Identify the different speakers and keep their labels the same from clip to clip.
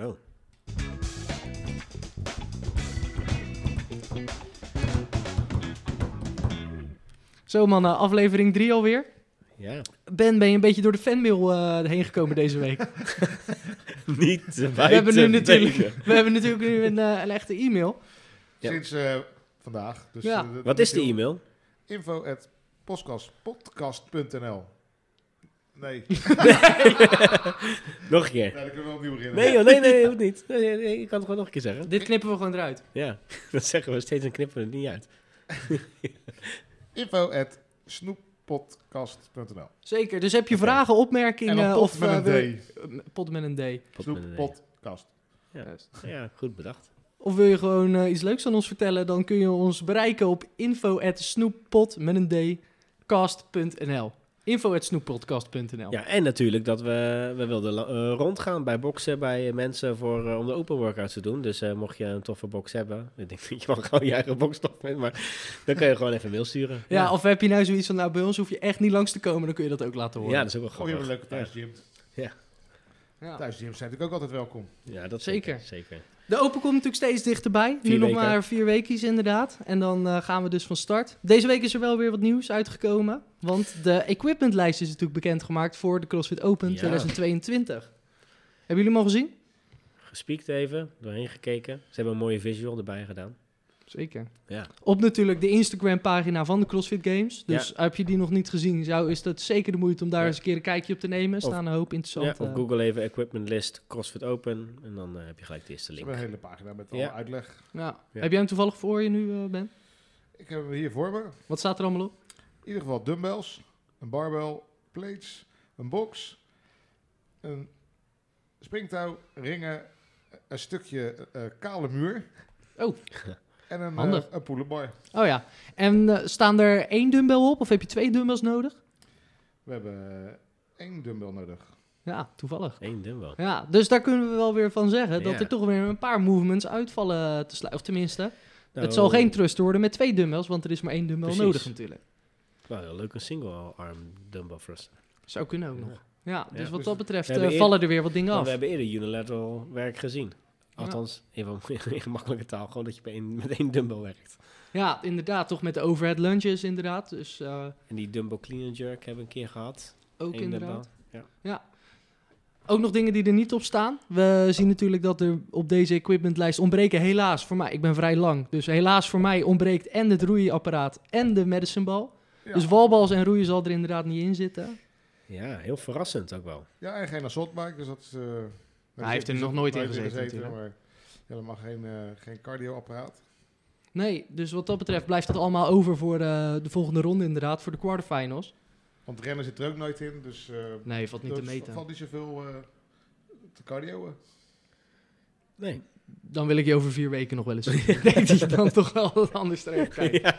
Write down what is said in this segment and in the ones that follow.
Speaker 1: Oh.
Speaker 2: Zo man, eh, aflevering 3 alweer.
Speaker 1: Ja.
Speaker 2: Ben, ben je een beetje door de fanmail eh, heen gekomen deze week?
Speaker 1: Niet te
Speaker 2: we, hebben nu
Speaker 1: buiten
Speaker 2: natuurlijk,
Speaker 1: denken.
Speaker 2: we hebben natuurlijk nu een, eh, een echte e-mail.
Speaker 1: Ja.
Speaker 3: Sinds eh, vandaag. Dus,
Speaker 2: Ja.
Speaker 3: eh, dat
Speaker 1: Wat
Speaker 3: moet
Speaker 1: is de
Speaker 3: heel-
Speaker 1: e-mail?
Speaker 3: Info at podcastpodcast.nl Nee,
Speaker 1: Nog een keer.
Speaker 3: nou, dan kunnen we opnieuw beginnen.
Speaker 1: Nee, joh, nee, nee, hoeft niet. Nee, nee, nee, ik kan het gewoon nog een keer zeggen.
Speaker 2: Dit knippen we gewoon eruit.
Speaker 1: Ja, dat zeggen we steeds en knippen we het niet uit.
Speaker 3: Info at snoeppodcast.nl
Speaker 2: Zeker. Dus heb je
Speaker 1: Oké.
Speaker 2: vragen,
Speaker 3: En
Speaker 2: opmerkingen?
Speaker 3: dan pot
Speaker 2: of,
Speaker 3: met
Speaker 2: eh,
Speaker 3: een
Speaker 2: wil-
Speaker 3: D.
Speaker 2: eh, Pot met een D.
Speaker 1: Pot met een E.
Speaker 3: Snoeppodcast. Oh,
Speaker 1: Ja, goed bedacht.
Speaker 2: Of wil je gewoon eh, iets leuks aan ons vertellen? Dan kun je ons bereiken op info at snoeppot met een D cast.nl. Info at snoeppotcast.nl.
Speaker 1: Ja, en natuurlijk dat we, we wilden la- eh, rondgaan bij boksen, bij eh, mensen voor, eh, om de open workouts te doen. Dus eh, mocht je een toffe box hebben, ik denk dat je wel gewoon je eigen box tof vindt, maar dan kun je gewoon even een mail sturen.
Speaker 2: Ja, of heb je nou zoiets van, nou bij ons hoef je echt niet langs te komen, dan kun je dat ook laten
Speaker 1: ja
Speaker 2: horen.
Speaker 1: dat is ook wel
Speaker 3: Oh, je
Speaker 1: grappig.
Speaker 3: hebt een leuke thuisgym.
Speaker 2: Ja.
Speaker 3: Thuisgyms zijn natuurlijk ook altijd welkom.
Speaker 1: Ja, dat
Speaker 2: Zeker.
Speaker 1: zeker. Zeker.
Speaker 2: De Open komt natuurlijk steeds dichterbij.
Speaker 1: Vier
Speaker 2: nu nog
Speaker 1: weken.
Speaker 2: maar vier weekjes inderdaad. En dan eh, gaan we dus van start. Deze week is er wel weer wat nieuws uitgekomen. Want de equipmentlijst is natuurlijk bekendgemaakt voor de CrossFit Open
Speaker 1: Ja.
Speaker 2: 2022. Hebben jullie hem al gezien?
Speaker 1: Gespiekt even, doorheen gekeken. Ze hebben een mooie visual erbij gedaan.
Speaker 2: Zeker.
Speaker 1: Ja.
Speaker 2: Op natuurlijk de Instagram pagina van de CrossFit Games. Dus heb je die nog niet gezien, zou, is dat zeker de moeite om daar
Speaker 1: Ja.
Speaker 2: eens een keer een kijkje op te nemen. Er
Speaker 1: Of-
Speaker 2: staan een hoop
Speaker 1: Ja,
Speaker 2: interessante...
Speaker 1: op Google even equipment list, CrossFit Open en dan eh, heb je gelijk de eerste
Speaker 3: Ze
Speaker 1: link.
Speaker 3: hebben een hele pagina met
Speaker 1: Ja.
Speaker 3: alle uitleg.
Speaker 2: Ja.
Speaker 1: Ja.
Speaker 2: Heb jij hem toevallig voor je nu, eh, Ben?
Speaker 3: Ik heb hem hier voor me.
Speaker 2: Wat staat er allemaal op?
Speaker 3: In ieder geval dumbbells, een barbell, plates, een box, een springtouw, ringen, een stukje eh, kale muur.
Speaker 2: Oh.
Speaker 3: En een,
Speaker 2: Handig.
Speaker 3: eh, een poelenbar.
Speaker 2: Oh ja. En eh, staan er één dumbbell op of heb je twee dumbbells nodig?
Speaker 3: We hebben eh, één dumbbell nodig.
Speaker 2: Ja, toevallig.
Speaker 1: Eén dumbbell.
Speaker 2: Ja, dus daar kunnen we wel weer van zeggen dat
Speaker 1: Ja.
Speaker 2: er toch weer een paar movements uitvallen te sluiten. Of tenminste, het
Speaker 1: Nou,
Speaker 2: zal geen trust worden met twee dumbbells, want er is maar één dumbbell
Speaker 1: Precies.
Speaker 2: nodig natuurlijk.
Speaker 1: Nou, heel leuk een single arm dumbbell thrust.
Speaker 2: Zou kunnen ook
Speaker 1: Ja.
Speaker 2: nog. Ja, dus
Speaker 1: Ja.
Speaker 2: wat dat betreft
Speaker 1: We hebben
Speaker 2: eh,
Speaker 1: eer-
Speaker 2: vallen er weer wat dingen
Speaker 1: Want
Speaker 2: af.
Speaker 1: we hebben eerder unilateral werk gezien. Althans, even in gemakkelijke taal, gewoon dat je bij één- met één dumbbell werkt.
Speaker 2: Ja, inderdaad, toch met de overhead lunges inderdaad. Dus eh,
Speaker 1: En die dumbbell clean and jerk hebben we een keer gehad.
Speaker 2: ook
Speaker 1: Eén
Speaker 2: inderdaad.
Speaker 1: dumbbell.
Speaker 2: Ook nog dingen die er niet op staan. We zien natuurlijk dat er op deze equipmentlijst ontbreken helaas voor mij. Ik ben vrij lang. Dus helaas voor mij ontbreekt en het roeiapparaat en de medicine ball.
Speaker 3: Ja,
Speaker 2: Dus walbals en roeien zal er inderdaad niet in zitten.
Speaker 1: Ja, heel verrassend ook wel.
Speaker 3: ja en geen assaultbike, dus dat is... eh, daar
Speaker 2: heeft
Speaker 3: zit-
Speaker 2: er
Speaker 3: zit
Speaker 2: nog nooit in gezeten
Speaker 3: maar ja, helemaal geen, eh, geen cardioapparaat.
Speaker 2: Nee, dus wat dat betreft blijft dat allemaal over voor eh, de volgende ronde inderdaad, voor de quarterfinals.
Speaker 3: Want rennen zit er ook nooit in, dus... eh,
Speaker 2: Nee, valt niet
Speaker 3: dat
Speaker 2: te meten.
Speaker 3: valt niet zoveel eh, te cardioen.
Speaker 1: Nee.
Speaker 2: Dan wil ik je over vier weken nog wel eens zien. Ik denk dat je dan toch wel wat anders terecht krijgt.
Speaker 1: Ja.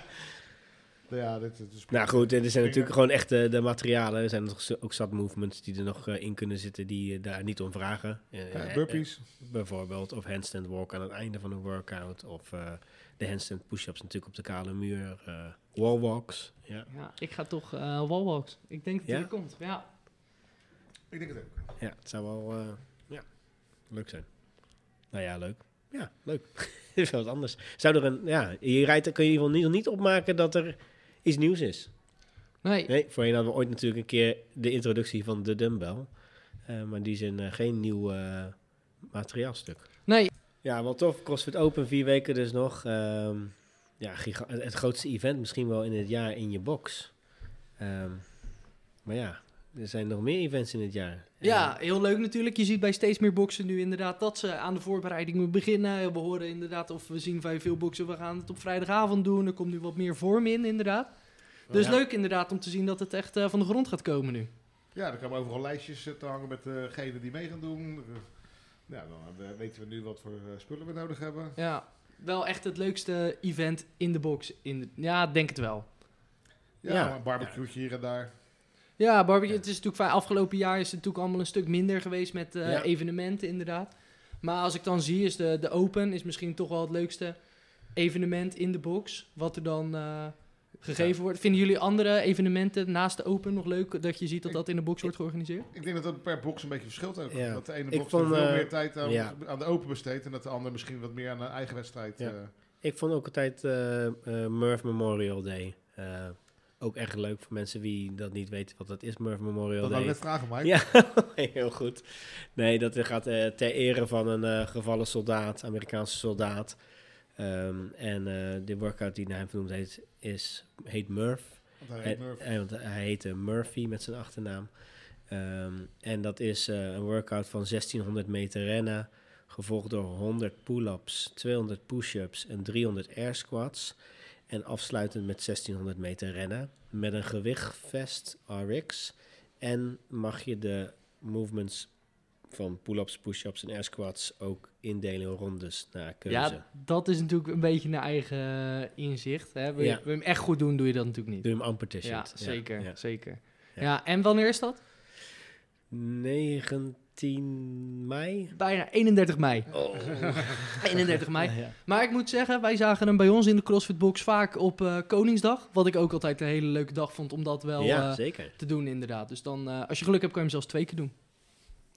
Speaker 3: Nou Ja, dit, dit is
Speaker 1: Nou goed, er zijn natuurlijk gewoon echt eh, de materialen. Er zijn nog zo- ook zat movements die er nog eh, in kunnen zitten die eh, daar niet om vragen. Eh,
Speaker 3: Ja,
Speaker 1: eh,
Speaker 3: burpees.
Speaker 1: eh, bijvoorbeeld, of handstand walk aan het einde van een workout. Of eh, de handstand push-ups natuurlijk op de kale muur. eh wall walks. Ja.
Speaker 2: Ja, ik ga toch eh wallwalks. Ik denk dat die
Speaker 1: Ja?
Speaker 2: er komt. Ja.
Speaker 3: Ik denk het ook.
Speaker 1: Ja, het zou wel eh, ja, leuk zijn. Nou ja, leuk. Ja, leuk. Dit is wel wat anders. Zou er een, ja, je rijdt, kun je in ieder geval niet, niet opmaken dat er iets nieuws is.
Speaker 2: Nee,
Speaker 1: Nee, voorheen hadden we ooit natuurlijk een keer de introductie van de dumbbell. Eh, maar die zijn eh, geen nieuw eh, materiaalstuk.
Speaker 2: nee.
Speaker 1: Ja, wel tof. CrossFit Open, vier weken dus nog. Ehm, ja, giga- het het grootste event misschien wel in het jaar in je box. Ehm, maar ja, er zijn nog meer events in het jaar.
Speaker 2: Ja, heel leuk natuurlijk. Je ziet bij steeds meer boksen nu inderdaad dat ze aan de voorbereidingen beginnen. We horen inderdaad of we zien bij veel boksen, we gaan het op vrijdagavond doen. Er komt nu wat meer vorm in inderdaad. Dus
Speaker 1: Ja.
Speaker 2: leuk inderdaad om te zien dat het echt eh, van de grond gaat komen nu.
Speaker 3: Ja, er komen overal lijstjes eh, te hangen met degenen die mee gaan doen. Eh, Ja, dan eh, weten we nu wat voor eh, spullen we nodig hebben.
Speaker 2: Ja, wel echt het leukste event in de box. In de- ja, denk het wel.
Speaker 3: Ja,
Speaker 1: Ja.
Speaker 3: een barbecue hier en daar.
Speaker 2: Ja, Barbie, het is natuurlijk van afgelopen jaar is het natuurlijk allemaal een stuk minder geweest met eh,
Speaker 1: Ja.
Speaker 2: evenementen inderdaad. Maar als ik dan zie, is de, de Open is misschien toch wel het leukste evenement in de box. Wat er dan eh, gegeven wordt. Vinden jullie andere evenementen naast de Open nog leuk dat je ziet dat dat in de box wordt georganiseerd?
Speaker 3: Ik denk dat dat per box een beetje verschilt ook.
Speaker 1: Ja.
Speaker 3: Dat de ene
Speaker 1: Ik
Speaker 3: box
Speaker 1: vond,
Speaker 3: er veel
Speaker 1: eh,
Speaker 3: meer tijd aan,
Speaker 1: ja.
Speaker 3: aan de open besteedt en dat de ander misschien wat meer aan een eigen wedstrijd.
Speaker 1: Ja.
Speaker 3: eh,
Speaker 1: Ik vond ook altijd eh, eh, Murph Memorial Day. eh, ook echt leuk voor mensen die dat niet weten wat dat is, Murph Memorial
Speaker 3: dat wou
Speaker 1: Day.
Speaker 3: ik net vragen, Mike.
Speaker 1: Ja, heel goed. Nee, dat gaat eh, ter ere van een eh, gevallen soldaat, Amerikaanse soldaat. Ehm, en eh, de workout die naar hem vernoemd heet, is, heet Murph.
Speaker 3: Want hij heet
Speaker 1: Eh,
Speaker 3: Murph.
Speaker 1: eh, want hij heette Murphy met zijn achternaam. Ehm, en dat is eh, een workout van 1600 meter rennen, gevolgd door 100 pull-ups, 200 push-ups en 300 air squats. En afsluitend met 1600 meter rennen met een gewichtvest RX. En mag je de movements van pull-ups, push-ups en air squats ook indelen in rondes naar keuze.
Speaker 2: Ja, dat is natuurlijk een beetje naar eigen eh, inzicht. Hè? Wil, je,
Speaker 1: Ja.
Speaker 2: wil je hem echt goed doen, doe je dat natuurlijk niet.
Speaker 1: Doe je hem ampertition.
Speaker 2: Ja, zeker,
Speaker 1: ja.
Speaker 2: zeker. Ja.
Speaker 1: Ja.
Speaker 2: en wanneer is dat?
Speaker 1: 19 mei.
Speaker 2: Bijna 31 mei.
Speaker 1: Oh.
Speaker 2: 31 mei.
Speaker 1: Ja, ja.
Speaker 2: Maar ik moet zeggen, wij zagen hem bij ons in de CrossFit Box vaak op eh, Koningsdag. Wat ik ook altijd een hele leuke dag vond om dat wel
Speaker 1: ja,
Speaker 2: eh,
Speaker 1: zeker.
Speaker 2: te doen, inderdaad. Dus dan, eh, als je geluk hebt, kan je hem zelfs twee keer doen.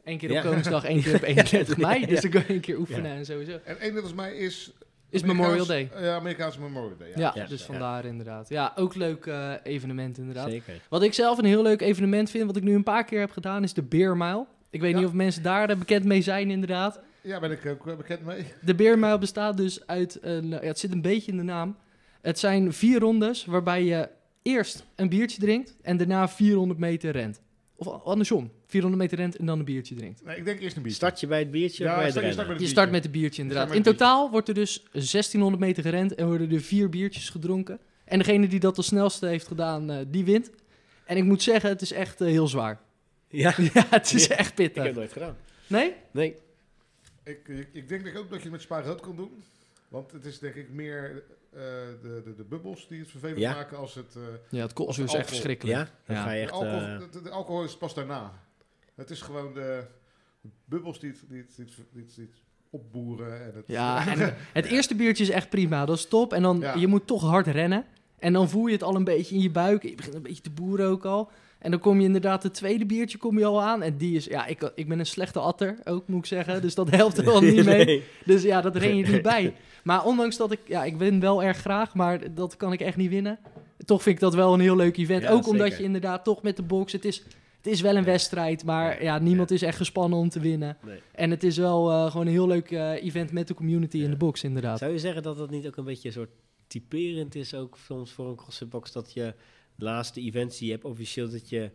Speaker 2: Eén keer op
Speaker 1: Ja.
Speaker 2: Koningsdag, één keer op 31 mei.
Speaker 1: Ja.
Speaker 2: Dus dan kan je één keer oefenen en sowieso.
Speaker 3: En 31 mei is...
Speaker 2: Is
Speaker 3: Amerikaans-
Speaker 2: Memorial Day.
Speaker 3: Ja, Amerikaanse Memorial Day. Ja.
Speaker 2: Ja,
Speaker 1: Ja,
Speaker 2: dus
Speaker 1: ja.
Speaker 2: vandaar inderdaad. Ja, ook leuk eh, evenement inderdaad.
Speaker 1: Zeker.
Speaker 2: Wat ik zelf een heel leuk evenement vind, wat ik nu een paar keer heb gedaan, is de Beermijl. Ik weet
Speaker 3: Ja.
Speaker 2: niet of mensen daar eh, bekend mee zijn inderdaad.
Speaker 3: Ja, ben ik ook eh, bekend mee.
Speaker 2: De Beermijl bestaat dus uit, een, ja, het zit een beetje in de naam. Het zijn vier rondes waarbij je eerst een biertje drinkt en daarna 400 meter rent. Of andersom, 400 meter rent en dan een biertje drinkt.
Speaker 3: Nee, ik denk eerst een biertje.
Speaker 1: Start je bij het biertje of bij het
Speaker 3: start-
Speaker 1: rennen?
Speaker 3: start met
Speaker 2: Je
Speaker 3: een
Speaker 2: start
Speaker 3: biertje.
Speaker 2: met een biertje inderdaad.
Speaker 3: maar
Speaker 2: In
Speaker 3: een biertje.
Speaker 2: totaal wordt er dus 1600 meter gerend en worden er vier biertjes gedronken. En degene die dat als snelste heeft gedaan, eh, die wint. En ik moet zeggen, het is echt eh, heel zwaar.
Speaker 1: Ja,
Speaker 2: Ja, het is
Speaker 1: Ja.
Speaker 2: echt
Speaker 1: ik heb
Speaker 2: pittig.
Speaker 1: het nooit gedaan.
Speaker 2: Nee?
Speaker 1: Nee.
Speaker 3: Ik, ik, ik denk dat ik ook dat je het met spaargeld kan doen. Want het is denk ik meer eh, de, de, de bubbels die het vervelend
Speaker 1: Ja.
Speaker 3: maken als het... eh,
Speaker 2: Ja, het koolzuur is echt
Speaker 3: Alcohol.
Speaker 2: verschrikkelijk.
Speaker 1: Ja, dan
Speaker 2: Ja.
Speaker 1: ga je
Speaker 3: de,
Speaker 1: echt...
Speaker 3: alcohol,
Speaker 1: eh,
Speaker 3: de, de alcohol is pas daarna. Het is gewoon de bubbels die het, die het, die het, die het- die het opboeren. En het, eh,
Speaker 2: Ja, en het eerste biertje is echt prima, dat is top. En dan,
Speaker 3: Ja.
Speaker 2: je moet toch hard rennen. En dan voel je het al een beetje in je buik. Je begint een beetje te boeren ook al. En dan kom je inderdaad, het tweede biertje kom je al aan. En die is, ja, ik, ik ben een slechte atter ook, moet ik zeggen. Dus dat helpt er wel niet mee.
Speaker 1: nee.
Speaker 2: Dus ja, dat ren je niet bij. Maar ondanks dat ik, ja, ik win wel erg graag, maar dat kan ik echt niet winnen. Toch vind ik dat wel een heel leuk event.
Speaker 1: Ja,
Speaker 2: ook omdat
Speaker 1: zeker.
Speaker 2: je inderdaad toch met de box, het is, het is wel een
Speaker 1: Ja.
Speaker 2: wedstrijd, maar ja,
Speaker 1: Ja.
Speaker 2: niemand is echt gespannen om te winnen.
Speaker 1: Nee.
Speaker 2: En het is wel eh, gewoon een heel leuk eh, event met de community in
Speaker 1: Ja.
Speaker 2: de box, inderdaad.
Speaker 1: Zou je zeggen dat dat niet ook een beetje een soort typerend is ook soms voor een crossfitbox? Dat je de laatste events die je hebt officieel, dat je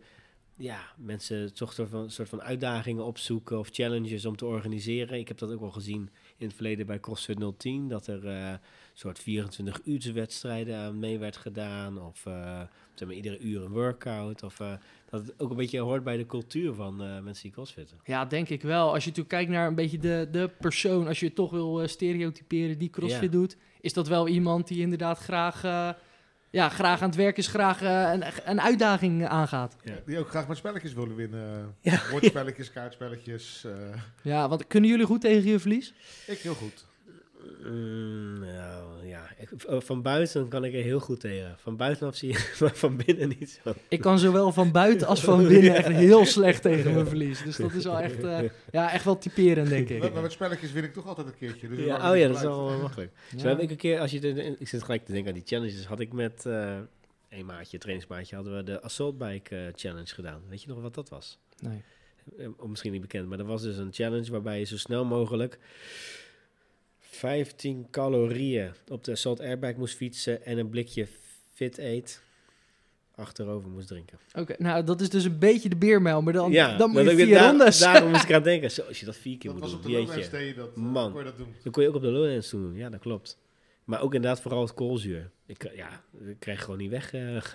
Speaker 1: ja, mensen toch soort van, soort van uitdagingen opzoeken of challenges om te organiseren. Ik heb dat ook al gezien in het verleden bij CrossFit 010, dat er eh soort 24 uurtse wedstrijden aan mee werd gedaan. Of eh, zeg maar, iedere uur een workout. Of eh, dat het ook een beetje hoort bij de cultuur van eh, mensen die crossfitten.
Speaker 2: Ja, denk ik wel. Als je natuurlijk kijkt naar een beetje de, de persoon, als je het toch wil eh, stereotyperen die CrossFit
Speaker 1: Ja.
Speaker 2: doet, is dat wel iemand die inderdaad graag, eh, ja, graag aan het werk is, graag eh, een, een uitdaging aangaat.
Speaker 3: Die ook graag met spelletjes willen winnen.
Speaker 1: Ja.
Speaker 3: Woordspelletjes, kaartspelletjes. eh,
Speaker 2: Ja, want kunnen jullie goed tegen je verlies?
Speaker 3: ik heel goed.
Speaker 1: Mm, nou ja, ik, v- van buiten kan ik er heel goed tegen. Van buitenaf zie je, maar van binnen niet zo.
Speaker 2: Ik kan zowel van buiten als van binnen echt heel slecht tegen mijn verlies. Dus dat is wel echt, eh, ja, echt wel typerend, denk ik.
Speaker 3: Maar met spelletjes win ik toch altijd een keertje. Dus het maakt
Speaker 1: Ja,
Speaker 3: me
Speaker 1: oh ja,
Speaker 3: niet
Speaker 1: dat is
Speaker 3: uit.
Speaker 1: wel wel makkelijk. Zo heb ik een keer, als je de, ik zit gelijk te denken aan die challenges, had ik met eh een maatje, trainingsmaatje, hadden we de Assault Bike eh, Challenge gedaan. Weet je nog wat dat was?
Speaker 2: Nee.
Speaker 1: Eh, of misschien niet bekend, maar dat was dus een challenge waarbij je zo snel mogelijk 15 calorieën op de Assault Airbike moest fietsen en een blikje Fit Eat achterover moest drinken.
Speaker 2: Oké, nou dat is dus een beetje de beermel, maar dan,
Speaker 1: ja,
Speaker 2: dan moet
Speaker 1: dat
Speaker 2: je
Speaker 1: heb ik-
Speaker 2: vier
Speaker 1: daar-
Speaker 2: rondes.
Speaker 1: Daarom moest ik aan denken. Zo, als je dat vier keer
Speaker 3: Dat
Speaker 1: moet
Speaker 3: was op de
Speaker 1: doen,
Speaker 3: Lowlands
Speaker 1: jeetje.
Speaker 3: deed je dat. eh,
Speaker 1: Man.
Speaker 3: kon je dat doen.
Speaker 1: Dan kon je ook op de lowlands doen. Ja, dat klopt. Maar ook inderdaad vooral het koolzuur. Ik, eh, ja, ik kreeg gewoon niet weg. eh, en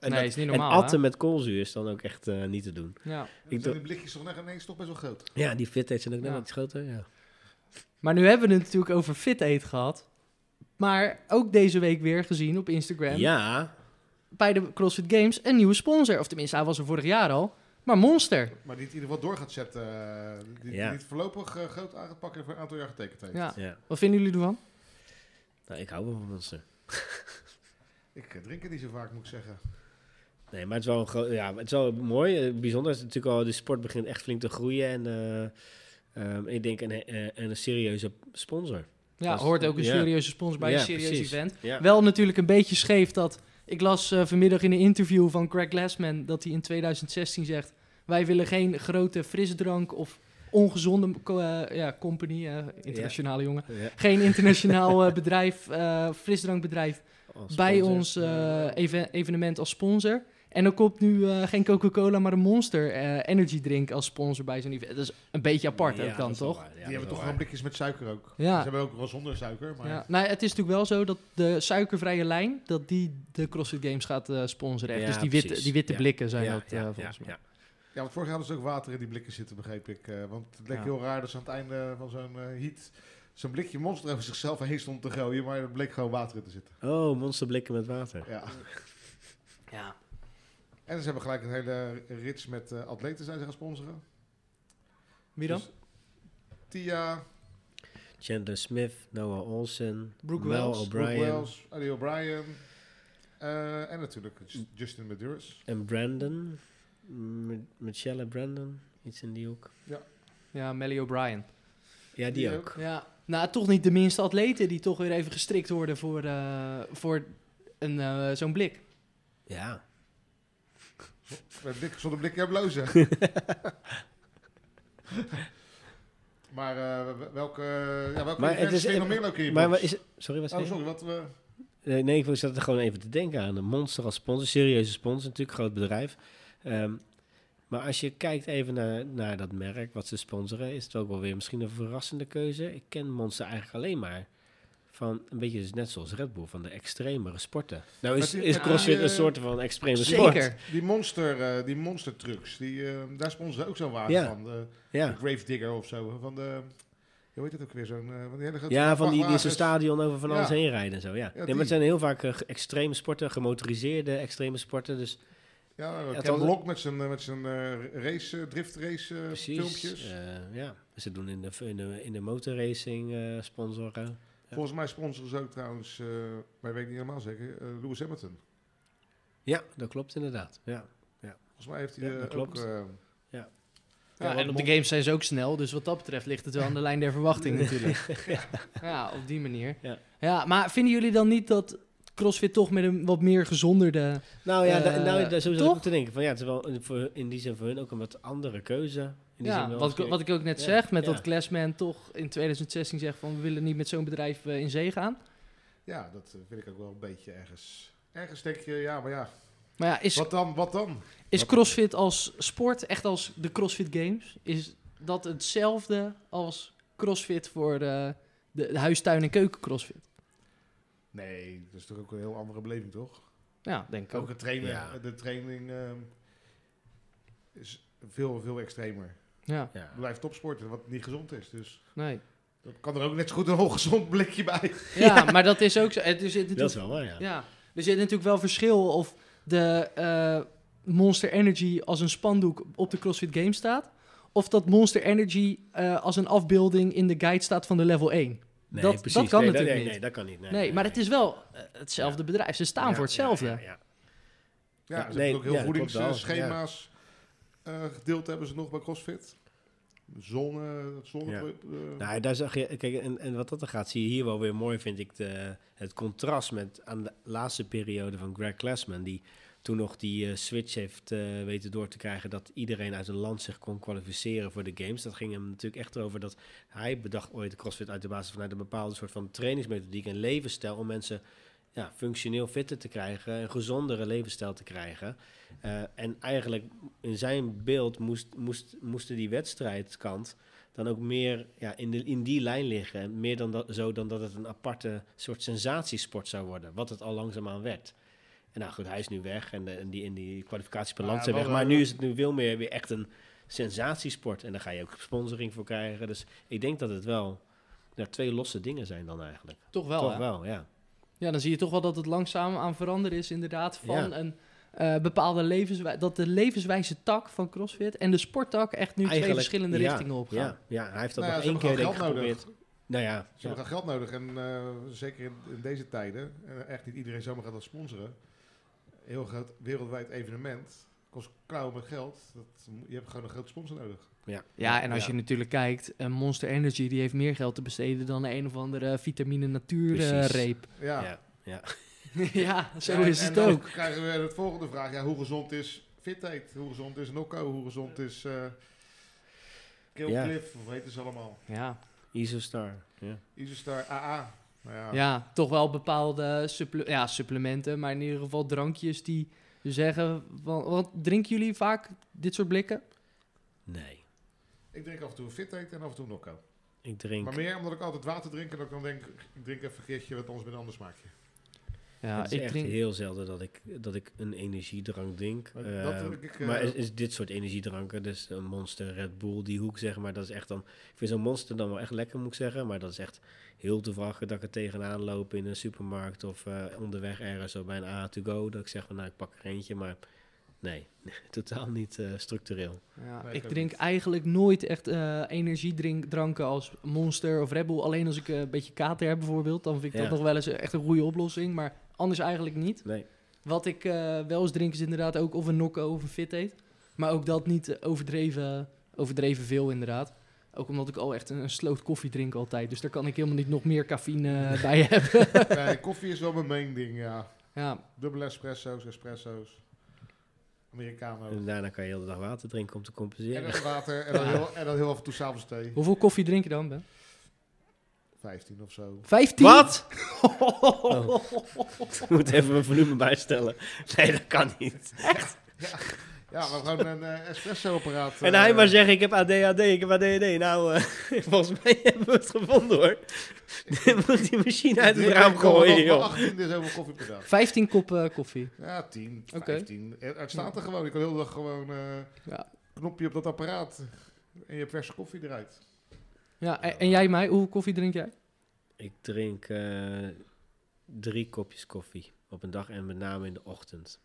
Speaker 2: nee,
Speaker 1: dat-
Speaker 2: is niet
Speaker 1: en
Speaker 2: normaal.
Speaker 1: atten met koolzuur is dan ook echt eh, niet te doen.
Speaker 2: hè? Ja.
Speaker 3: Ik
Speaker 1: Ik
Speaker 3: Dus zijn
Speaker 1: dacht-
Speaker 3: die blikjes toch net ineens toch best wel groot.
Speaker 1: Ja, die fitheid zijn ook net
Speaker 2: Ja.
Speaker 1: wat groter. Ja.
Speaker 2: Maar nu hebben we het natuurlijk over fit eet gehad. Maar ook deze week weer gezien op Instagram
Speaker 1: ja,
Speaker 2: bij de CrossFit Games een nieuwe sponsor. Of tenminste, hij was er vorig jaar al. Maar Monster.
Speaker 3: Maar die het in ieder geval door gaat zetten. eh, Die, die
Speaker 1: Ja.
Speaker 3: het voorlopig eh, groot aan gaat pakken en voor een aantal jaar getekend heeft.
Speaker 2: Ja.
Speaker 1: ja.
Speaker 2: Wat vinden jullie ervan?
Speaker 1: Nou, ik hou wel van mensen.
Speaker 3: Ik Ik eh, drink het niet zo vaak, moet ik zeggen.
Speaker 1: Nee, maar het is wel, een gro- ja, het is wel mooi. eh, Bijzonder is het natuurlijk al, de sport begint echt flink te groeien. En eh, ehm, ik denk een, eh, eh, een serieuze sponsor.
Speaker 2: Ja,
Speaker 1: Dat is-
Speaker 2: hoort ook een
Speaker 1: ja.
Speaker 2: serieuze sponsor bij
Speaker 1: Ja,
Speaker 2: een serieus
Speaker 1: precies.
Speaker 2: event.
Speaker 1: Ja.
Speaker 2: Wel natuurlijk een beetje scheef dat... Ik las eh, vanmiddag in een interview van Craig Glassman dat hij in 2016 zegt... wij willen geen grote frisdrank of ongezonde co- eh, ja, company, eh, internationale jongen.
Speaker 1: Ja,
Speaker 2: Geen internationaal eh, bedrijf, eh, frisdrankbedrijf
Speaker 1: als
Speaker 2: bij
Speaker 1: sponsor.
Speaker 2: ons eh, even- evenement als sponsor. En er komt nu eh, geen Coca-Cola, maar een Monster eh, Energy Drink als sponsor bij zo'n event. Dat is een beetje apart
Speaker 1: Ja,
Speaker 2: ook dan,
Speaker 1: dat is wel
Speaker 2: toch?
Speaker 1: waar. Ja,
Speaker 3: Die
Speaker 1: dat is
Speaker 3: hebben toch
Speaker 1: wel
Speaker 3: gewoon blikjes met suiker ook.
Speaker 2: Ja.
Speaker 3: Ze hebben ook wel zonder suiker, maar...
Speaker 2: Ja, nou, het is natuurlijk wel zo dat de suikervrije lijn, dat die de CrossFit Games gaat eh, sponsoren. echt.
Speaker 1: Ja,
Speaker 2: dus die witte,
Speaker 1: precies.
Speaker 2: die witte
Speaker 1: Ja.
Speaker 2: blikken zijn
Speaker 1: Ja,
Speaker 2: dat eh,
Speaker 1: ja,
Speaker 2: volgens
Speaker 1: ja,
Speaker 2: mij.
Speaker 1: ja.
Speaker 3: Ja, want vorig jaar hadden ze ook water in die blikken zitten, begreep ik. eh, want het leek
Speaker 2: Ja.
Speaker 3: heel raar dat ze aan het einde van zo'n eh, heat zo'n blikje monster over zichzelf heen stond te gooien, maar er bleek gewoon water in te zitten.
Speaker 1: Oh, monsterblikken met water.
Speaker 3: Ja.
Speaker 2: Ja.
Speaker 3: En ze hebben gelijk een hele rits met eh, atleten zijn ze gaan sponsoren.
Speaker 2: Wie dan?
Speaker 3: Dus Tia,
Speaker 1: Chandler Smith, Noah Olsen,
Speaker 2: Brooke
Speaker 1: Mel
Speaker 2: Wells,
Speaker 3: Brooke
Speaker 1: O'Brien
Speaker 3: Wells, Eddie O'Brien eh, en natuurlijk Ju- Justin Medeiros.
Speaker 1: en Brandon. M- Michelle Brandon, iets in die hoek.
Speaker 2: ja, Melly O'Brien.
Speaker 1: Ja, die
Speaker 3: Die
Speaker 1: ook.
Speaker 2: Ja. Nou, toch niet de minste atleten die toch weer even gestrikt worden voor, eh, voor een, eh, zo'n blik.
Speaker 1: Ja.
Speaker 3: Met blik, zonder blik en blozen. maar eh, w- welke, ja, welke
Speaker 1: Maar het
Speaker 3: events
Speaker 1: is-
Speaker 3: vind je nog meer leuk in je
Speaker 1: Maar
Speaker 3: box?
Speaker 1: wat is het? Sorry, wat zei
Speaker 3: Oh,
Speaker 1: je?
Speaker 3: sorry, wat we...
Speaker 1: Nee, nee, ik zat er gewoon even te denken aan. Een monster als sponsor, serieuze sponsor, natuurlijk, groot bedrijf. Ehm, maar als je kijkt even naar, naar dat merk, wat ze sponsoren, is het ook wel weer misschien een verrassende keuze. Ik ken Monster eigenlijk alleen maar van een beetje dus net zoals Red Bull, van de extremere sporten. Nou is,
Speaker 3: Met die-
Speaker 1: is
Speaker 3: met
Speaker 1: CrossFit
Speaker 3: die,
Speaker 1: een
Speaker 3: eh,
Speaker 1: soort van extreme sport.
Speaker 2: Zeker.
Speaker 3: Die monster, eh, die monster trucks, die, eh, daar sponsoren ook zo'n wagen
Speaker 1: Ja.
Speaker 3: van. De, de
Speaker 1: Ja,
Speaker 3: Grave Digger of zo. Van de, hoe heet dat ook weer? Zo'n, eh, van die hele grote
Speaker 1: ja van die, die zo'n
Speaker 3: vrachtwagens.
Speaker 1: stadion over van alles
Speaker 3: Ja.
Speaker 1: heen rijden en zo. Ja. nee, maar
Speaker 3: die.
Speaker 1: het zijn heel vaak eh, ge- extreme sporten, gemotoriseerde extreme sporten. Dus
Speaker 3: Ja,
Speaker 1: Ja,
Speaker 3: Ken
Speaker 1: toch?
Speaker 3: Block met zijn, eh, met zijn eh, race, eh, drift race eh,
Speaker 1: Precies.
Speaker 3: filmpjes.
Speaker 1: eh, ja, ze doen in de, in de, in de motorracing eh, sponsoren.
Speaker 3: Volgens mij sponsoren ze ook trouwens, eh, maar ik weet niet helemaal zeker, eh, Lewis Hamilton.
Speaker 1: Ja, dat klopt inderdaad. Ja.
Speaker 3: Volgens mij heeft hij
Speaker 1: Ja,
Speaker 3: eh,
Speaker 1: dat
Speaker 3: ook...
Speaker 1: klopt.
Speaker 3: eh,
Speaker 1: Ja.
Speaker 2: Ja, en op de
Speaker 3: want-
Speaker 2: games zijn ze ook snel, dus wat dat betreft ligt het wel aan de lijn der verwachting natuurlijk. Ja, op die manier.
Speaker 1: Ja.
Speaker 2: Ja. maar vinden jullie dan niet dat CrossFit toch met een wat meer gezonderde...
Speaker 1: Nou ja,
Speaker 2: Eh,
Speaker 1: da- nou, daar zo zat ik
Speaker 2: toch?
Speaker 1: ook te denken. Van, ja, het is wel een- voor, in die zin voor hun ook een wat andere keuze. In die zin
Speaker 2: Ja,
Speaker 1: wel
Speaker 2: wat, ik-
Speaker 1: misschien-
Speaker 2: wat ik ook net
Speaker 1: Ja,
Speaker 2: zeg, met
Speaker 1: ja.
Speaker 2: dat Glassman toch in 2016 zegt van... we willen niet met zo'n bedrijf eh, in zee gaan.
Speaker 3: Ja, dat eh, vind ik ook wel een beetje ergens. Ergens denk je, ja, maar ja,
Speaker 2: Maar ja, is,
Speaker 3: wat dan, wat dan?
Speaker 2: is CrossFit als sport, echt als de CrossFit Games... is dat hetzelfde als CrossFit voor eh, de, de huistuin- en keuken CrossFit?
Speaker 3: Nee, dat is toch ook een heel andere beleving, toch?
Speaker 2: Ja, denk ik ook.
Speaker 3: Ook het trainen,
Speaker 1: Ja.
Speaker 3: de training ehm, is veel, veel extremer.
Speaker 2: Ja,
Speaker 1: Ja.
Speaker 3: Het blijft topsporten, wat niet gezond is. Dus
Speaker 2: nee.
Speaker 3: dat kan er ook net zo goed een ongezond blikje bij.
Speaker 2: Ja, maar dat is ook zo. Het is,
Speaker 1: Dat is wel waar, ja.
Speaker 2: Ja, er zit natuurlijk wel verschil of de eh, Monster Energy als een spandoek op de CrossFit Games staat. Of dat Monster Energy eh, als een afbeelding in de guide staat van de level 1.
Speaker 1: Nee,
Speaker 2: dat,
Speaker 1: precies.
Speaker 2: dat kan
Speaker 1: nee, dat-
Speaker 2: natuurlijk
Speaker 1: nee,
Speaker 2: niet.
Speaker 1: Nee, dat kan niet. Nee,
Speaker 2: Nee, maar het is wel eh, hetzelfde
Speaker 1: Ja.
Speaker 2: bedrijf. Ze staan
Speaker 3: Ja,
Speaker 2: voor hetzelfde.
Speaker 1: Ja, ja, ja.
Speaker 3: Ja,
Speaker 1: Ja,
Speaker 3: ze
Speaker 1: nee,
Speaker 3: hebben ook heel
Speaker 1: ja, dat klopt wel,
Speaker 3: voedingsschema's eh, gedeeld hebben ze nog bij CrossFit. Zonne, dat zonne...
Speaker 1: Ja.
Speaker 3: eh,
Speaker 1: Nou, daar zag je, kijk, en, en wat dat er gaat, zie je hier wel weer mooi, vind ik, de, het contrast met aan de laatste periode van Greg Glassman, die toen nog die eh, switch heeft eh, weten door te krijgen dat iedereen uit een land zich kon kwalificeren voor de games. Dat ging hem natuurlijk echt over dat hij bedacht ooit de CrossFit uit de basis vanuit een bepaalde soort van trainingsmethodiek en levensstijl om mensen ja, functioneel fitter te krijgen, een gezondere levensstijl te krijgen. Eh, en eigenlijk in zijn beeld moest, moest, moesten die wedstrijdkant dan ook meer ja, in, de, in die lijn liggen. En Meer dan dat, zo dan dat het een aparte soort sensatiesport zou worden, wat het al langzaamaan werd. En nou goed, hij is nu weg en, de, en die, in die kwalificaties per
Speaker 3: Ja,
Speaker 1: land zijn
Speaker 3: wel
Speaker 1: weg. Maar
Speaker 3: een-
Speaker 1: nu is het nu veel meer weer echt een sensatiesport. En daar ga je ook sponsoring voor krijgen. Dus ik denk dat het wel ja, twee losse dingen zijn dan eigenlijk.
Speaker 2: Toch wel,
Speaker 1: Toch
Speaker 2: hè?
Speaker 1: wel, ja.
Speaker 2: Ja, dan zie je toch wel dat het langzaam aan veranderen is inderdaad van
Speaker 1: Ja.
Speaker 2: een eh, bepaalde levenswijze. Dat de levenswijze tak van CrossFit en de sporttak echt nu twee
Speaker 1: Eigenlijk,
Speaker 2: verschillende
Speaker 1: ja,
Speaker 2: richtingen opgaan.
Speaker 1: Ja, ja, hij heeft dat
Speaker 3: Nou ja,
Speaker 1: nog
Speaker 3: ze
Speaker 1: één keer
Speaker 3: hebben
Speaker 1: denk ik,
Speaker 3: gewoon geld
Speaker 1: geprobeerd. Nou ja,
Speaker 3: Ze hebben
Speaker 1: ja.
Speaker 3: gewoon geld nodig. En eh, zeker in, in deze tijden, en echt niet iedereen zomaar gaat dat sponsoren. Een heel groot wereldwijd evenement. Kost klauwen met geld. Dat, mo- je hebt gewoon een grote sponsor nodig.
Speaker 1: ja.
Speaker 2: Ja, en als je natuurlijk kijkt, eh, Monster Energy die heeft meer geld te besteden dan een of andere eh, vitamine
Speaker 1: Precies.
Speaker 2: natuurreep.
Speaker 3: Ja,
Speaker 1: Ja, ja.
Speaker 2: ja, zo
Speaker 3: Ja,
Speaker 2: is
Speaker 3: en
Speaker 2: het
Speaker 3: dan
Speaker 2: ook.
Speaker 3: krijgen we de volgende vraag. Ja, hoe gezond is fitheid? Hoe gezond is Nokko? Hoe gezond is eh Killcliff? Hoe heet het allemaal?
Speaker 2: Ja.
Speaker 1: Isostar. Ja.
Speaker 3: Isostar AA. Nou ja,
Speaker 2: ja, toch wel bepaalde supple- ja, supplementen, maar in ieder geval drankjes die zeggen, van, wat drinken jullie vaak dit soort blikken?
Speaker 1: Nee,
Speaker 3: Ik drink af en toe fitheid en af en toe Nokko.
Speaker 1: ik drink...
Speaker 3: Maar meer omdat ik altijd water drink en dat ik dan denk, ik drink even een keertje wat anders met een ander smaakje.
Speaker 2: Ja,
Speaker 1: het is
Speaker 2: ik
Speaker 1: echt
Speaker 2: drink...
Speaker 1: heel zelden dat ik, dat ik een energiedrank drink.
Speaker 3: Maar
Speaker 1: Eh,
Speaker 3: dat drink ik, eh,
Speaker 1: maar is, is dit soort energiedranken, dus een Monster, Red Bull, die hoek zeg maar, dat is echt dan... Ik vind zo'n Monster dan wel echt lekker, moet ik zeggen. Maar dat is echt heel te vragen dat ik er tegenaan loop in een supermarkt of eh, onderweg ergens zo bij een A2Go. Dat ik zeg van, nou, ik pak er eentje, maar nee, totaal niet eh, structureel.
Speaker 2: Ja,
Speaker 3: Nee, ik
Speaker 2: ik
Speaker 3: ook
Speaker 2: drink
Speaker 3: niet.
Speaker 2: eigenlijk nooit echt eh energiedranken als Monster of Red Bull. Alleen als ik eh, een beetje kater heb bijvoorbeeld, dan vind ik
Speaker 1: Ja.
Speaker 2: dat nog wel eens echt een goede oplossing. Maar anders eigenlijk niet.
Speaker 1: Nee,
Speaker 2: Wat ik eh, wel eens drink is inderdaad ook of een nokko of een fit eet. Maar ook dat niet eh, overdreven, overdreven veel inderdaad. Ook omdat ik al echt een, een sloot koffie drink altijd. Dus daar kan ik helemaal niet nog meer cafeïne eh, bij hebben.
Speaker 3: Nee, koffie is wel mijn main ding, ja.
Speaker 2: Ja,
Speaker 3: Dubbele espresso's, espresso's, Americano.
Speaker 1: en daarna kan je heel de dag water drinken om te
Speaker 3: En
Speaker 1: compenseren.
Speaker 3: dan water en dan, heel, en dan heel af en toe s'avonds thee.
Speaker 2: hoeveel koffie drink je dan, Ben?
Speaker 3: 15 of zo.
Speaker 2: 15?
Speaker 1: Wat? Ik moet even mijn volume bijstellen. Nee, dat kan niet.
Speaker 3: Ja, maar gewoon een eh, espresso-apparaat.
Speaker 1: En
Speaker 3: eh,
Speaker 1: hij maar zeggen, ik heb ADHD, ik heb ADHD. Nou, eh, volgens mij hebben we het gevonden hoor. Dan moet die machine uit het
Speaker 3: drink
Speaker 1: raam
Speaker 3: ik gewoon
Speaker 1: gooien,
Speaker 3: nog maar
Speaker 1: joh.
Speaker 3: 18 is over koffie per dag.
Speaker 2: 15 koppen koffie.
Speaker 3: Ja, 10,
Speaker 2: Oké.
Speaker 3: 15. Het- Het staat er gewoon. Ik kan heel de dag gewoon eh
Speaker 2: Ja.
Speaker 3: knopje op dat apparaat. En je hebt verse koffie eruit.
Speaker 2: Ja, en, en jij, mij, hoeveel koffie drink jij?
Speaker 1: Ik drink eh, drie kopjes koffie op een dag en met name in de ochtend.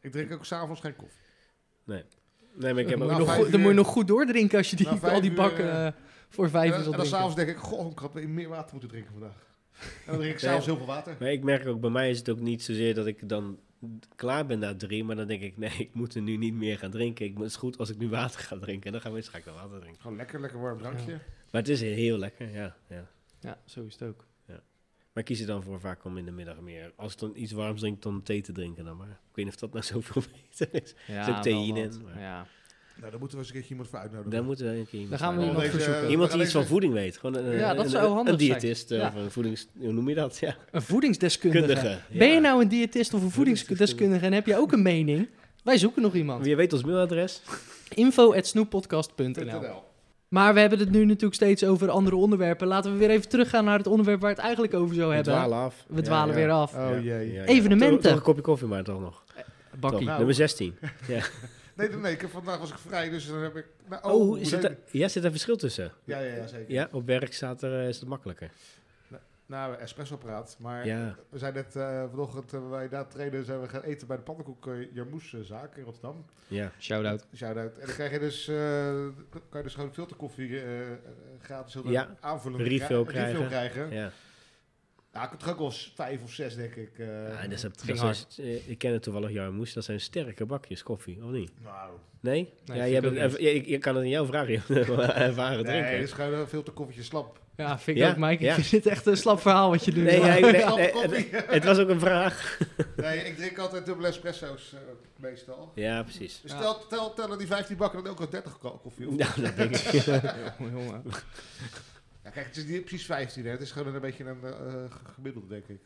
Speaker 3: Ik drink ook s'avonds geen koffie.
Speaker 1: Nee, maar ik heb
Speaker 2: Dan moet je nog
Speaker 1: ook
Speaker 3: Nou,
Speaker 1: nog...
Speaker 3: vijf
Speaker 2: goed- dan moet je
Speaker 3: uur-
Speaker 2: nog goed doordrinken als je die,
Speaker 3: Nou, vijf
Speaker 2: al die
Speaker 3: uur,
Speaker 2: bakken
Speaker 3: eh,
Speaker 2: eh, voor vijf
Speaker 3: en
Speaker 2: uur zal
Speaker 3: dan- en dan
Speaker 2: drinken.
Speaker 3: s'avonds denk ik, goh, ik had meer water moeten drinken vandaag. En dan drink ik s'avonds heel veel water.
Speaker 1: Maar ik merk ook, bij mij is het ook niet zozeer dat ik dan klaar ben na drie, maar dan denk ik, nee, ik moet er nu niet meer gaan drinken. Ik, moet- het is goed als ik nu water ga drinken. En dan gaan we eens, ga ik dan water drinken.
Speaker 3: Gewoon lekker, lekker warm drankje.
Speaker 1: Maar het is heel lekker, ja. ja.
Speaker 2: Ja, zo is het ook.
Speaker 1: Maar ik kies er dan voor vaak om in de middag meer. Als ik dan iets warms drink, dan thee te drinken dan maar. Ik weet niet of dat nou zoveel beter is.
Speaker 2: Ja,
Speaker 1: zit ook theïne in, maar-
Speaker 2: Ja.
Speaker 3: Nou, daar moeten we eens een keertje iemand voor uitnodigen.
Speaker 1: Daar moeten we een keer
Speaker 2: Dan
Speaker 1: iemand
Speaker 2: gaan we
Speaker 1: voor
Speaker 2: je nog
Speaker 3: Deze-
Speaker 2: verzoeken.
Speaker 1: uitnodigen. Iemand die
Speaker 3: Alleen
Speaker 1: iets van
Speaker 3: ze-
Speaker 1: voeding weet. Gewoon een,
Speaker 2: Ja,
Speaker 1: een-
Speaker 2: dat zou
Speaker 1: een-
Speaker 2: handig
Speaker 1: Een
Speaker 2: zijn.
Speaker 1: diëtist, eh,
Speaker 2: Ja.
Speaker 1: of een voedings... Hoe noem je dat? Ja.
Speaker 2: Een voedingsdeskundige.
Speaker 1: Kundige.
Speaker 2: Ben je
Speaker 1: Ja.
Speaker 2: nou een diëtist of een voedingsdeskundige en heb je ook een mening? Wij zoeken nog iemand.
Speaker 1: Je weet ons mailadres.
Speaker 2: info.snoeppodcast.nl
Speaker 3: .nl.
Speaker 2: Maar we hebben het nu natuurlijk steeds over andere onderwerpen. Laten we weer even teruggaan naar het onderwerp waar we het eigenlijk over zou
Speaker 1: We
Speaker 2: hebben.
Speaker 1: dwalen af.
Speaker 2: We dwalen
Speaker 3: ja.
Speaker 2: weer
Speaker 1: Eh,
Speaker 2: af.
Speaker 3: Oh jee.
Speaker 2: Evenementen.
Speaker 1: Toch, toch een kopje koffie maar toch nog.
Speaker 2: Bakkie.
Speaker 1: Toch.
Speaker 3: Nou.
Speaker 1: Nummer 16.
Speaker 3: Nee, nee, nee, ik heb, vandaag was ik vrij, dus dan heb ik... Nou,
Speaker 1: Oh,
Speaker 3: hoe
Speaker 1: zit
Speaker 3: leuk.
Speaker 1: er, ja, zit er verschil tussen?
Speaker 3: Ja, ja, ja, zeker.
Speaker 1: Ja, op werk staat er, eh, is het makkelijker.
Speaker 3: Nou, espresso-apparaat. Maar
Speaker 1: Ja.
Speaker 3: we zijn net eh vanochtend, eh, wij na het trainen, zijn we gaan eten bij de pannenkoek eh, Jarmoes eh, zaak in Rotterdam.
Speaker 1: ja.
Speaker 2: Shout-out.
Speaker 3: Shout-out. En dan krijg je dus, eh, kan je dus gewoon filterkoffie eh, eh, gratis heel
Speaker 1: Ja.
Speaker 3: aanvullen. aanvullen.
Speaker 1: Refill krijgen.
Speaker 3: krijgen. Ja.
Speaker 1: ja.
Speaker 3: ik had er ook wel eens vijf of zes, denk ik. eh.
Speaker 1: Ja, dat is- dat
Speaker 2: ging
Speaker 1: zijn- eh, ik ken het toevallig, jouw moes. Dat zijn sterke bakjes koffie, of niet?
Speaker 3: Nou,
Speaker 1: Nee?
Speaker 2: Nee,
Speaker 1: ja,
Speaker 2: vind
Speaker 1: je,
Speaker 2: ik
Speaker 1: hebt
Speaker 2: ook
Speaker 1: het- je, je- je kan het in jouw vraag je hebt het wel ervaren
Speaker 3: nee,
Speaker 1: drinken.
Speaker 3: het is gewoon eh, een filterkoffietje slap.
Speaker 2: Ja, vind ik
Speaker 1: Ja,
Speaker 2: ook, Mike.
Speaker 1: ja.
Speaker 2: Ik vind dit echt een slap verhaal wat je nu...
Speaker 1: Nee, ja, ik- nee,
Speaker 3: Slap
Speaker 1: nee,
Speaker 3: koffie.
Speaker 1: Het was ook een vraag.
Speaker 3: nee, ik drink altijd dubbele espresso's eh, meestal.
Speaker 1: Ja, precies.
Speaker 3: Dus
Speaker 2: Ja.
Speaker 3: tel, tel, tellen die 15 bakken dan ook al 30 ko- koffie op. Ja.
Speaker 1: Nou, dat denk ik.
Speaker 2: Jongen, jongen.
Speaker 3: kijk, het is niet precies 15, hè. het is gewoon een beetje een eh, g- gemiddelde, denk ik.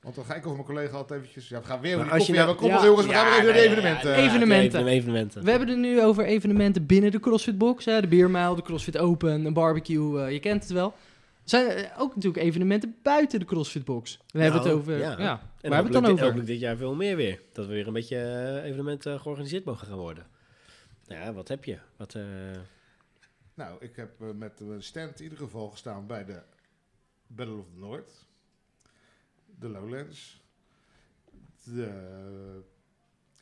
Speaker 3: Want dan ga ik over mijn collega altijd eventjes... Ja, we gaan weer over
Speaker 1: Maar
Speaker 3: die
Speaker 1: als je nou-
Speaker 3: koffie hebben. Kom
Speaker 2: Ja.
Speaker 3: op, jongens, we gaan weer even naar de
Speaker 1: ja, ja,
Speaker 3: evenementen.
Speaker 2: ja. Even- Evenementen.
Speaker 1: Ja, evenementen.
Speaker 2: We hebben het nu over evenementen binnen de CrossFit Box. Hè, de Biermijl, de CrossFit Open, een barbecue, eh, je kent het wel. Zijn er eh, ook natuurlijk evenementen buiten de CrossFit Box. We hebben het
Speaker 1: Nou,
Speaker 2: over...
Speaker 1: ja.
Speaker 2: Ja,
Speaker 1: En
Speaker 2: waar hebben we het dan
Speaker 1: hopelijk
Speaker 2: over?
Speaker 1: dit- hopelijk dit jaar veel meer weer. Dat we weer een beetje eh, evenementen georganiseerd mogen gaan worden. Nou Ja, wat heb je? Wat, eh,
Speaker 3: Nou, ik heb eh, met een stand in ieder geval gestaan bij de Battle of the North, de Lowlands, de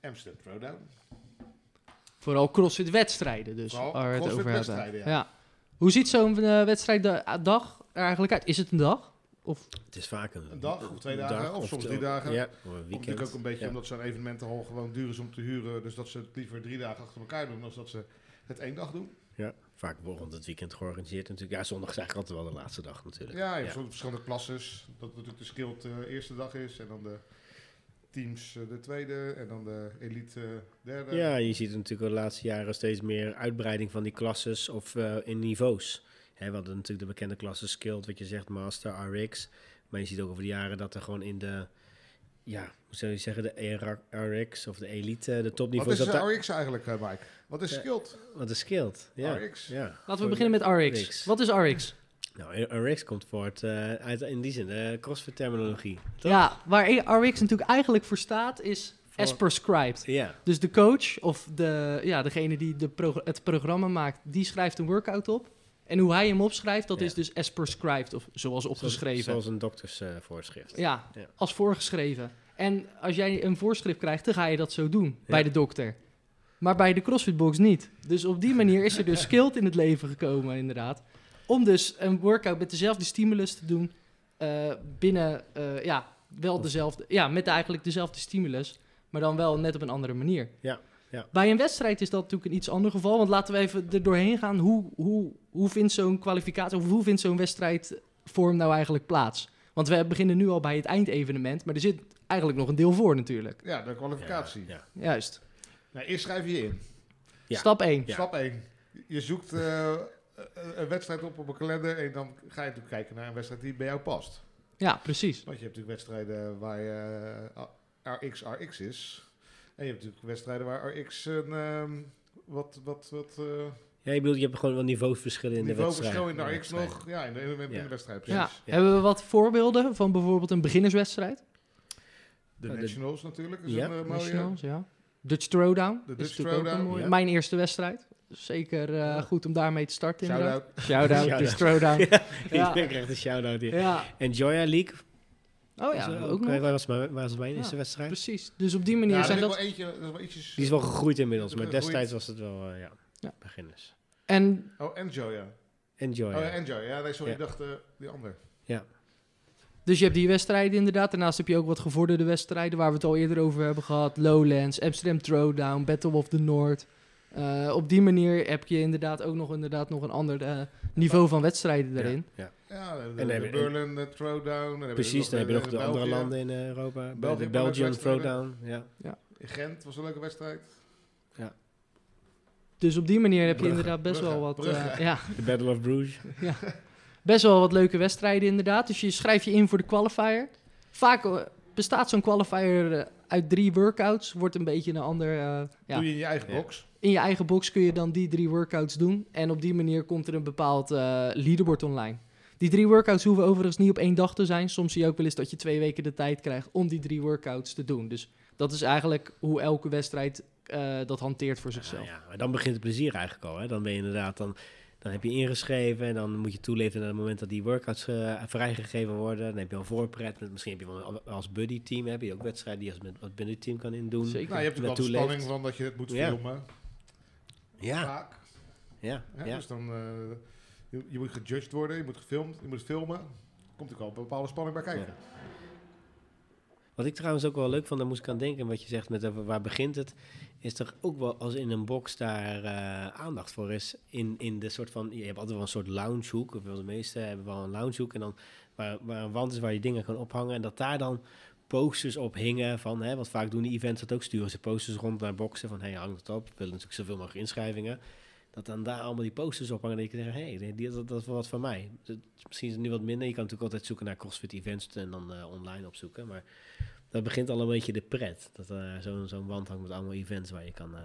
Speaker 3: eh, Amsterdam Throwdown.
Speaker 2: Vooral CrossFit wedstrijden dus.
Speaker 3: Vooral
Speaker 2: waar we het
Speaker 3: CrossFit
Speaker 2: over hebben.
Speaker 3: wedstrijden, ja.
Speaker 2: ja. Hoe ziet zo'n eh, wedstrijd de- eh, dag er eigenlijk uit? Is het een dag? Of
Speaker 1: Het is vaak een,
Speaker 3: Een dag of twee dagen, of soms drie dagen.
Speaker 1: Ja, of een
Speaker 3: Komt
Speaker 1: weekend.
Speaker 3: natuurlijk ook een beetje
Speaker 1: Ja.
Speaker 3: omdat zo'n evenementenhal gewoon duur is om te huren. Dus dat ze het liever drie dagen achter elkaar doen, dan dat ze het één dag doen.
Speaker 1: Ja, vaak rond het weekend georganiseerd natuurlijk. Ja, zondag is eigenlijk altijd wel de laatste dag natuurlijk.
Speaker 3: Ja, je hebt zo'n verschillende klasses. Dat natuurlijk de skilled de eerste dag is. En dan de teams eh, de tweede. En dan de elite eh, derde.
Speaker 1: Ja, je ziet natuurlijk de laatste jaren steeds meer uitbreiding van die klasses of eh, in niveaus. Hè, we hadden natuurlijk de bekende klassen Skilled, wat je zegt, Master, RX. Maar je ziet ook over de jaren dat er gewoon in de, ja, hoe zou je zeggen, de RX of de Elite, de
Speaker 3: Wat
Speaker 1: topniveaus.
Speaker 3: is
Speaker 1: Dat daar-
Speaker 3: een RX eigenlijk, eh, Mike? Wat is
Speaker 1: Eh,
Speaker 3: skilled?
Speaker 1: wat is Skilled? Ja.
Speaker 3: RX?
Speaker 1: ja.
Speaker 2: laten we beginnen met RX.
Speaker 1: RX.
Speaker 2: Wat is RX?
Speaker 1: Nou, RX komt voort eh, uit, in die zin, de CrossFit terminologie. Toch?
Speaker 2: Ja, waar RX natuurlijk eigenlijk voor staat is
Speaker 1: Voor-
Speaker 2: as prescribed.
Speaker 1: Ja,
Speaker 2: Dus de coach of de, ja, degene die de prog- het programma maakt, die schrijft een workout op. En hoe hij hem opschrijft, dat
Speaker 1: Ja.
Speaker 2: is dus as prescribed of zoals opgeschreven.
Speaker 1: Zoals een doktersvoorschrift.
Speaker 2: Ja,
Speaker 1: Ja.
Speaker 2: als voorgeschreven. En als jij een voorschrift krijgt, dan ga je dat zo doen bij de dokter. Maar bij de CrossFitbox niet. Dus op die manier is er dus skilled in het leven gekomen, inderdaad. Om dus een workout met dezelfde stimulus te doen. eh, binnen, eh, ja, wel dezelfde. Ja, met eigenlijk dezelfde stimulus. Maar dan wel net op een andere manier.
Speaker 1: Ja, ja.
Speaker 2: Bij een wedstrijd is dat natuurlijk een iets ander geval. Want laten we even er doorheen gaan. Hoe, hoe, hoe vindt zo'n kwalificatie of hoe vindt zo'n wedstrijdvorm nou eigenlijk plaats? Want we beginnen nu al bij het eindevenement. Maar er zit eigenlijk nog een deel voor natuurlijk.
Speaker 3: Ja, de kwalificatie.
Speaker 1: Ja, ja.
Speaker 2: Juist.
Speaker 3: Nou, eerst schrijf je je in.
Speaker 1: Ja.
Speaker 2: Stap 1.
Speaker 1: Ja.
Speaker 3: Stap 1. Je zoekt eh, een een wedstrijd op op een kalender. En dan ga je natuurlijk kijken naar een wedstrijd die bij jou past.
Speaker 2: Ja, precies.
Speaker 3: Want je hebt natuurlijk wedstrijden waar je eh, RX RX is. En je hebt natuurlijk wedstrijden waar RX een, ehm, wat, wat, wat eh
Speaker 1: Ja, ik bedoel, je hebt gewoon wel niveauverschillen in de wedstrijd.
Speaker 3: niveauverschil in de RX
Speaker 1: wedstrijd.
Speaker 3: nog. Ja, in de, in de- in de
Speaker 1: Ja.
Speaker 3: wedstrijd
Speaker 2: Ja.
Speaker 3: precies.
Speaker 1: Ja.
Speaker 2: Hebben we wat voorbeelden van bijvoorbeeld een beginnerswedstrijd?
Speaker 3: De
Speaker 1: Ja, de-
Speaker 3: Nationals natuurlijk is
Speaker 1: Ja,
Speaker 3: een eh, mooie.
Speaker 2: Nationals, ja. Dutch Throwdown.
Speaker 3: De
Speaker 2: is
Speaker 3: Dutch
Speaker 2: natuurlijk ook een
Speaker 3: Throwdown,
Speaker 2: mooie.
Speaker 1: ja.
Speaker 2: Mijn eerste wedstrijd. Zeker eh, goed om daarmee te starten. inderdaad.
Speaker 3: Shout-out.
Speaker 2: Shout-out,
Speaker 1: Shout-out.
Speaker 2: Dutch Throwdown. Ja.
Speaker 1: Iedereen krijgt een shout-out hier.
Speaker 2: ja.
Speaker 1: En Joya League
Speaker 2: Oh ja,
Speaker 1: was,
Speaker 2: ook nog.
Speaker 1: waar was, mijn- waar was mijn
Speaker 2: Ja,
Speaker 1: eerste wedstrijd.
Speaker 2: Precies. Dus op die manier
Speaker 3: Ja, dat,
Speaker 2: zijn
Speaker 3: is
Speaker 2: dat...
Speaker 3: wel eentje, dat is wel ietsjes...
Speaker 1: Die is wel gegroeid inmiddels, maar
Speaker 3: Gegroeid.
Speaker 1: destijds was het wel, eh, ja,
Speaker 2: Ja.
Speaker 1: beginners.
Speaker 2: En
Speaker 3: Oh, en Joya.
Speaker 1: En Joya.
Speaker 3: Oh ja, en Joya. Ja, nee, sorry,
Speaker 1: Ja.
Speaker 3: ik dacht eh, die ander.
Speaker 2: Dus je hebt die wedstrijden inderdaad. Daarnaast heb je ook wat gevorderde wedstrijden waar we het al eerder over hebben gehad. Lowlands, Amsterdam Throwdown, Battle of the North. Eh, op die manier heb je inderdaad ook nog, inderdaad nog een ander eh, niveau van wedstrijden
Speaker 1: Ja,
Speaker 2: daarin.
Speaker 1: ja.
Speaker 3: Ja, de,
Speaker 1: dan
Speaker 3: de
Speaker 1: heb je-
Speaker 3: Berlin eh, Throwdown. Dan
Speaker 1: Precies, dan heb je nog de andere
Speaker 3: België.
Speaker 1: landen in eh, Europa. Bij
Speaker 3: België
Speaker 1: de
Speaker 3: heeft ook
Speaker 1: Belgian
Speaker 3: wedstrijden.
Speaker 1: Throwdown. Ja.
Speaker 3: In Gent was een leuke wedstrijd.
Speaker 2: Dus op die manier heb je
Speaker 1: Brugge,
Speaker 2: inderdaad best wel wat.
Speaker 3: Brugge,
Speaker 2: eh,
Speaker 3: Brugge.
Speaker 2: ja,
Speaker 1: De Battle of Bruges.
Speaker 2: best wel wat leuke wedstrijden inderdaad. Dus je schrijft je in voor de qualifier. Vaak eh, bestaat zo'n qualifier eh, uit drie workouts. Wordt een beetje een ander. eh, ja.
Speaker 3: Doe je in je eigen
Speaker 1: Ja.
Speaker 3: box.
Speaker 2: In je eigen box kun je dan die drie workouts doen. En op die manier komt er een bepaald eh, leaderboard online. Die drie workouts hoeven overigens niet op één dag te zijn. Soms zie je ook wel eens dat je twee weken de tijd krijgt om die drie workouts te doen. Dus dat is eigenlijk hoe elke wedstrijd eh, dat hanteert voor
Speaker 1: Nou
Speaker 2: zichzelf.
Speaker 1: ja, maar dan begint het plezier eigenlijk al. Hè. Dan ben je inderdaad, dan, dan heb je ingeschreven en dan moet je toeleven naar het moment dat die workouts eh, vrijgegeven worden. Dan heb je al voorpret. Met, misschien heb je wel als buddy team, heb je ook wedstrijden die je als, met, als buddy team kan indoen.
Speaker 2: Zeker.
Speaker 3: Nou, je hebt natuurlijk
Speaker 1: Naartoe
Speaker 3: altijd spanning
Speaker 1: leeft.
Speaker 3: van dat je het moet
Speaker 1: Ja.
Speaker 3: filmen.
Speaker 1: Ja,
Speaker 3: Vaak.
Speaker 1: ja,
Speaker 3: Hè,
Speaker 1: ja.
Speaker 3: Dus dan, eh, je, je moet gejudged worden, je moet gefilmd, je moet filmen. Komt ook al een bepaalde spanning bij kijken.
Speaker 1: Wat ik trouwens ook wel leuk vond, daar moest ik aan denken, wat je zegt met over waar begint het, is er ook wel als in een box daar eh, aandacht voor is. In, in de soort van, je hebt altijd wel een soort loungehoek, of wel de meeste hebben wel een loungehoek, en dan waar, waar een wand is waar je dingen kan ophangen, en dat daar dan posters op hingen van, hè, want vaak doen die events dat ook, sturen ze posters rond naar boxen van, hé, hey, hang dat op, we willen natuurlijk zoveel mogelijk inschrijvingen. Dat dan daar allemaal die posters op hangen en ik denk, hé, hey, die- dat, dat is wel wat van mij. Dat- misschien is het nu wat minder, je kan natuurlijk altijd zoeken naar CrossFit events en dan eh, online opzoeken, maar dat begint al een beetje de pret. Dat eh, zo'n zo'n wand hangt met allemaal events waar je kan... eh,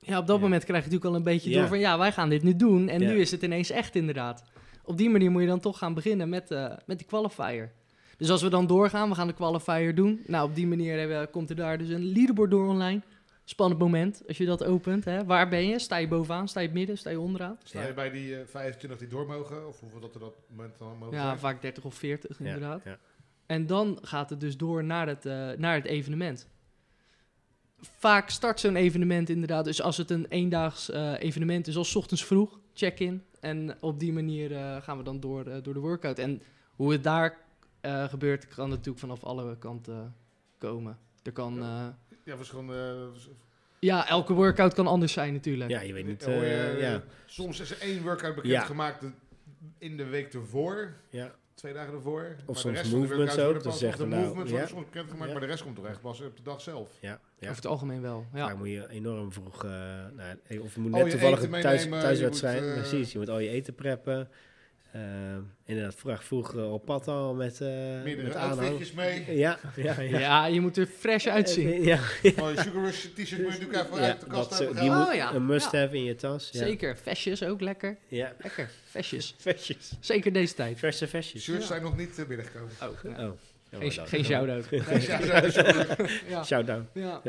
Speaker 2: Ja, op dat
Speaker 1: Ja.
Speaker 2: moment krijg je natuurlijk al een beetje
Speaker 1: Ja.
Speaker 2: door van ja, wij gaan dit nu doen. En
Speaker 1: Ja.
Speaker 2: nu is het ineens echt inderdaad. Op die manier moet je dan toch gaan beginnen met, eh, met die qualifier. Dus als we dan doorgaan, we gaan de qualifier doen. Nou, op die manier hebben, komt er daar dus een leaderboard door online. Spannend moment als je dat opent. Hè. Waar ben je? Sta je bovenaan? Sta je midden? Sta je onderaan?
Speaker 3: Sta
Speaker 1: Ja.
Speaker 3: je bij die eh, 25 die door mogen, of hoeveel dat er dat moment dan mogen
Speaker 2: Ja,
Speaker 3: zijn?
Speaker 2: vaak 30 of 40
Speaker 1: ja,
Speaker 2: inderdaad.
Speaker 1: ja.
Speaker 2: En dan gaat het dus door naar het, eh, naar het evenement. Vaak start zo'n evenement inderdaad. Dus als het een eendaags eh, evenement is, als 's ochtends vroeg, check-in. En op die manier eh, gaan we dan door, eh, door de workout. En hoe het daar eh, gebeurt, kan natuurlijk vanaf alle kanten komen. Er kan, eh,
Speaker 3: Ja, was gewoon... eh, was-
Speaker 2: ja, elke workout kan anders zijn natuurlijk.
Speaker 1: Ja, je weet niet.
Speaker 3: hoor je,
Speaker 1: eh, ja.
Speaker 3: Soms is er één workout
Speaker 1: Ja.
Speaker 3: bekend gemaakt in de week ervoor.
Speaker 1: Ja.
Speaker 3: Twee dagen ervoor. Maar de
Speaker 1: soms
Speaker 3: rest van de
Speaker 1: movements
Speaker 3: workouts
Speaker 1: ook,
Speaker 3: worden
Speaker 1: dan
Speaker 3: pas
Speaker 1: zegt
Speaker 3: op De
Speaker 1: er nou,
Speaker 3: movements
Speaker 1: ja.
Speaker 3: worden soms bekendgemaakt,
Speaker 1: Ja.
Speaker 3: maar de rest komt toch echt pas op de dag zelf.
Speaker 1: Ja, ja.
Speaker 2: Over het algemeen wel. Ja.
Speaker 1: Daar moet je enorm vroeg. eh, nou, of je moet
Speaker 3: Al
Speaker 1: net
Speaker 3: je
Speaker 1: toevallig
Speaker 3: eten
Speaker 1: een thuis,
Speaker 3: meenemen,
Speaker 1: thuiswedstrijd.
Speaker 3: je moet, eh,
Speaker 1: Precies, je moet al je eten preppen. Eh, inderdaad, vroeg, vroeg eh, op pad al met, eh met
Speaker 3: Meerdere
Speaker 1: aanhang.
Speaker 3: outfitjes mee.
Speaker 1: Ja, ja, ja. Eh,
Speaker 2: Ja. je moet er fresh uitzien.
Speaker 1: Ja,
Speaker 3: Mooie Oh, Sugar Rush t-shirt moet je natuurlijk even
Speaker 1: Ja,
Speaker 3: uit de kast
Speaker 1: dat,
Speaker 3: hebben
Speaker 1: eh, die
Speaker 3: gehaald.
Speaker 1: moet
Speaker 2: Oh, ja.
Speaker 1: een must
Speaker 2: Ja.
Speaker 1: have in je tas. Ja.
Speaker 2: Zeker. Vestjes ook lekker.
Speaker 1: Ja.
Speaker 2: Lekker. Vestjes.
Speaker 1: Vestjes.
Speaker 2: Zeker deze tijd.
Speaker 1: Verse
Speaker 3: Die
Speaker 1: vestjes.
Speaker 3: shirts
Speaker 2: ja.
Speaker 3: zijn nog niet eh, binnengekomen.
Speaker 2: Oh, ja.
Speaker 1: Oh.
Speaker 2: geen, geen shout-out.
Speaker 3: Nee, ja, ja, sorry.
Speaker 2: Ja.
Speaker 1: Shout-out.
Speaker 2: Ja.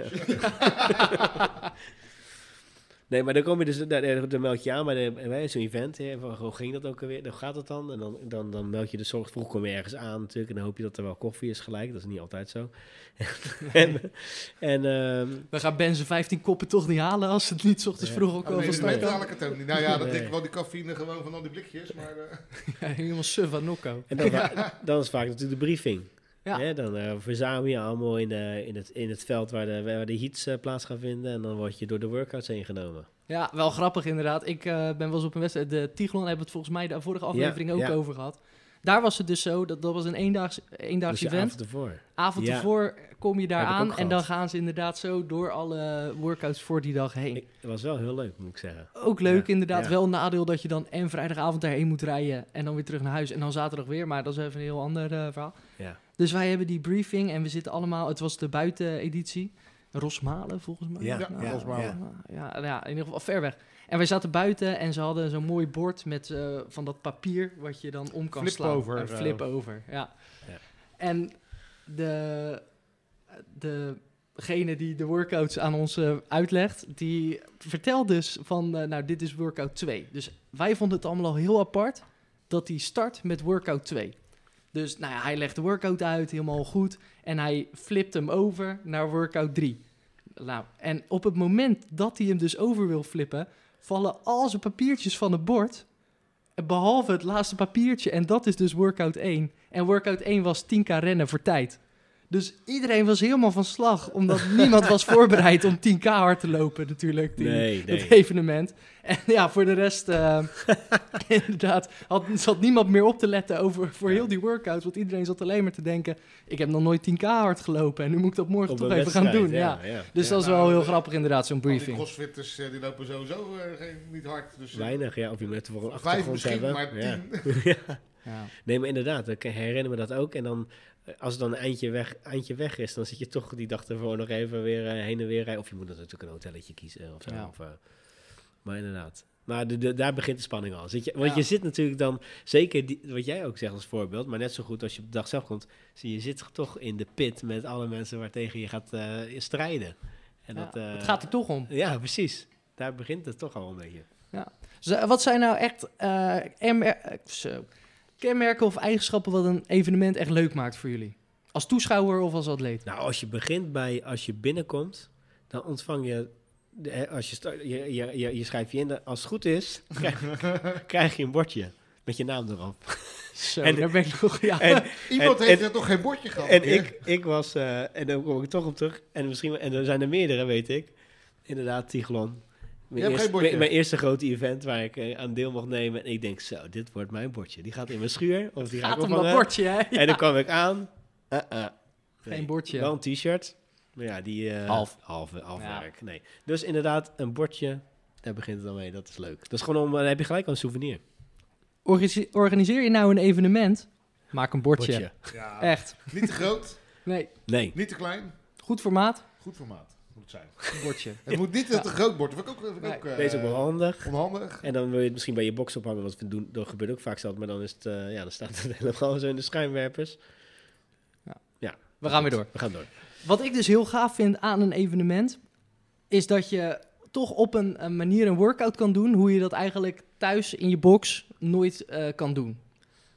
Speaker 1: Nee, maar dan kom je dus, daar- daar- dan meld je aan bij, de- bij zo'n event. Hè, van, hoe ging dat ook alweer? Dan gaat het dan. En dan, dan, dan meld je de zorg. Vroeg kom je ergens aan natuurlijk. En dan hoop je dat er wel koffie is gelijk. Dat is niet altijd zo. en en ehm,
Speaker 2: We gaan Ben zijn 15 koppen toch niet halen als het niet 's ochtends
Speaker 1: Ja.
Speaker 2: vroeg ook
Speaker 3: Oh,
Speaker 2: al
Speaker 3: nee,
Speaker 2: van
Speaker 3: dat
Speaker 2: start
Speaker 3: weet
Speaker 2: kan.
Speaker 3: dadelijk het ook niet. Nou ja, dat
Speaker 1: Nee.
Speaker 3: denk ik wel die cafeïne gewoon van al die blikjes. Maar eh,
Speaker 2: Ja, helemaal suf aan Nokko.
Speaker 1: En dan, va- dan is vaak natuurlijk de briefing.
Speaker 2: Ja.
Speaker 1: Hè, dan eh, verzamel je allemaal in, de, in, het, in het veld waar de, waar de heats eh, plaats gaan vinden. En dan word je door de workouts heen genomen.
Speaker 2: Ja, wel grappig inderdaad. Ik eh, ben wel eens op een wedstrijd. De Tiglon hebben we het volgens mij de vorige aflevering ook
Speaker 1: ja.
Speaker 2: over gehad. Daar was het dus zo, dat, dat was een eendaags, eendaags
Speaker 1: Dus je
Speaker 2: event.
Speaker 1: avond ervoor.
Speaker 2: Avond
Speaker 1: Ja.
Speaker 2: ervoor kom je daar
Speaker 1: Heb ik ook
Speaker 2: aan en
Speaker 1: gehad.
Speaker 2: dan gaan ze inderdaad zo door alle workouts voor die dag heen.
Speaker 1: Ik, het was wel heel leuk, moet ik zeggen.
Speaker 2: Ook leuk
Speaker 1: Ja,
Speaker 2: inderdaad.
Speaker 1: ja.
Speaker 2: Wel een nadeel dat je dan en vrijdagavond daarheen moet rijden en dan weer terug naar huis en dan zaterdag weer. Maar dat is even een heel ander eh, verhaal.
Speaker 1: Ja.
Speaker 2: Dus wij hebben die briefing en we zitten allemaal, het was de buiteneditie. Rosmalen volgens mij.
Speaker 1: Ja,
Speaker 3: ja, Rosmalen.
Speaker 2: Ja, ja, ja, in ieder geval ver weg. En wij zaten buiten en ze hadden zo'n mooi bord met eh, van dat papier wat je dan om kan
Speaker 3: Flip
Speaker 2: slaan.
Speaker 3: over,
Speaker 2: Een
Speaker 3: eh.
Speaker 2: flip over, ja.
Speaker 1: Ja.
Speaker 2: En de, de degene die de workouts aan ons eh, uitlegt, die vertelt dus van, eh, nou, dit is workout 2. Dus wij vonden het allemaal al heel apart dat hij start met workout 2. Dus nou ja, hij legt de workout uit, helemaal goed. En hij flipt hem over naar workout 3. Nou, en op het moment dat hij hem dus over wil flippen, vallen al zijn papiertjes van het bord. Behalve het laatste papiertje. En dat is dus workout 1. En workout 1 was 10k rennen voor tijd. Dus iedereen was helemaal van slag. Omdat niemand was voorbereid om 10k hard te lopen, natuurlijk. die-
Speaker 1: Nee, nee.
Speaker 2: het evenement. En ja, voor de rest, eh, inderdaad, had, zat niemand meer op te letten over voor heel die workouts. Want iedereen zat alleen maar te denken, ik heb nog nooit 10k hard gelopen en nu moet ik dat morgen
Speaker 1: Op
Speaker 2: toch
Speaker 1: een
Speaker 2: even gaan
Speaker 1: wedstrijd,
Speaker 2: doen. Ja.
Speaker 1: ja.
Speaker 2: Dus
Speaker 3: Ja,
Speaker 2: dat is
Speaker 3: nou,
Speaker 2: wel heel
Speaker 3: eh,
Speaker 2: grappig inderdaad, zo'n
Speaker 3: al die
Speaker 2: briefing.
Speaker 3: crossfitters eh, die lopen sowieso eh, geen- niet hard. Dus eh,
Speaker 1: Weinig, ja. Of je moet het voor een
Speaker 3: vijf
Speaker 1: achtergrond
Speaker 3: misschien,
Speaker 1: hebben.
Speaker 3: maar tien.
Speaker 1: ja.
Speaker 2: Ja.
Speaker 1: Nee, maar inderdaad, ik herinner me dat ook. En dan, eh, als het dan een eindje weg, eindje weg is, dan zit je toch die dag ervoor nog even weer eh, heen en weer rijden. Of je moet dan natuurlijk een hotelletje kiezen of zo.
Speaker 2: Ja.
Speaker 1: Of, eh, maar inderdaad. Maar de, de- daar begint de spanning al. Zit je, want
Speaker 2: Ja.
Speaker 1: je zit natuurlijk dan, zeker die, wat jij ook zegt als voorbeeld, maar net zo goed als je op de dag zelf komt, zie je zit toch in de pit met alle mensen waartegen je gaat eh, strijden. En
Speaker 2: Ja,
Speaker 1: dat, eh,
Speaker 2: het gaat er toch om.
Speaker 1: Ja, precies. Daar begint het toch al een beetje.
Speaker 2: Z- wat zijn nou echt eh, kenmer- eh, zo. kenmerken of eigenschappen wat een evenement echt leuk maakt voor jullie? Als toeschouwer of als atleet?
Speaker 1: Nou, als je begint bij, als je binnenkomt, dan ontvang je, de- hè, als je, start, je, je, je, je schrijft je in, dan- als het goed is, krijg, krijg je een bordje met je naam erop.
Speaker 2: Zo,
Speaker 1: En-
Speaker 2: daar ben ik nog... Ja.
Speaker 1: En,
Speaker 3: Iemand
Speaker 1: En-
Speaker 3: heeft
Speaker 1: en-
Speaker 3: er toch geen bordje gehad?
Speaker 1: en
Speaker 3: hè?
Speaker 1: ik, ik was, eh, en daar kom ik toch op terug, en misschien, en er zijn er meerdere, weet ik. Inderdaad, Tiglon.
Speaker 3: Je hebt
Speaker 1: Mijn,
Speaker 3: geen
Speaker 1: eerste,
Speaker 3: bordje.
Speaker 1: mijn- mijn eerste grote event waar ik eh, aan deel mocht nemen. En ik denk, zo, dit wordt mijn bordje. Die gaat in mijn schuur. Of die
Speaker 2: gaat
Speaker 1: gaat
Speaker 2: om dat bordje, hè?
Speaker 1: En dan kwam ik aan. Eh, eh. Nee,
Speaker 2: Geen bordje.
Speaker 1: Wel een t-shirt. Maar ja, die... eh,
Speaker 2: Half.
Speaker 1: Half, half
Speaker 2: Ja.
Speaker 1: werk, nee. Dus inderdaad, een bordje. Daar begint het dan mee. Dat is leuk. Dat is gewoon om... Dan heb je gelijk al een souvenir.
Speaker 2: Organise- Organiseer je nou een evenement, maak een bordje.
Speaker 3: Ja,
Speaker 1: Eh.
Speaker 2: Echt.
Speaker 3: Niet te groot,
Speaker 2: Nee,
Speaker 1: Nee.
Speaker 3: niet te klein.
Speaker 2: goed formaat,
Speaker 3: Goed formaat moet het zijn.
Speaker 2: een bordje.
Speaker 3: Het moet niet een te groot bord. Dat vind ik ook, vind ik
Speaker 2: Nee.
Speaker 3: ook eh,
Speaker 1: Deze ook wel handig.
Speaker 3: onhandig.
Speaker 1: En dan wil je het misschien bij je box ophangen. Want we doen, dat gebeurt ook vaak zat. Maar dan is het... eh, ja, dan staat het helemaal zo in de schijnwerpers.
Speaker 2: Ja.
Speaker 1: ja.
Speaker 2: We gaan weer door.
Speaker 1: We gaan door.
Speaker 2: Wat ik dus heel gaaf vind aan een evenement, is dat je toch op een, een manier een workout kan doen, hoe je dat eigenlijk thuis in je box nooit eh, kan doen.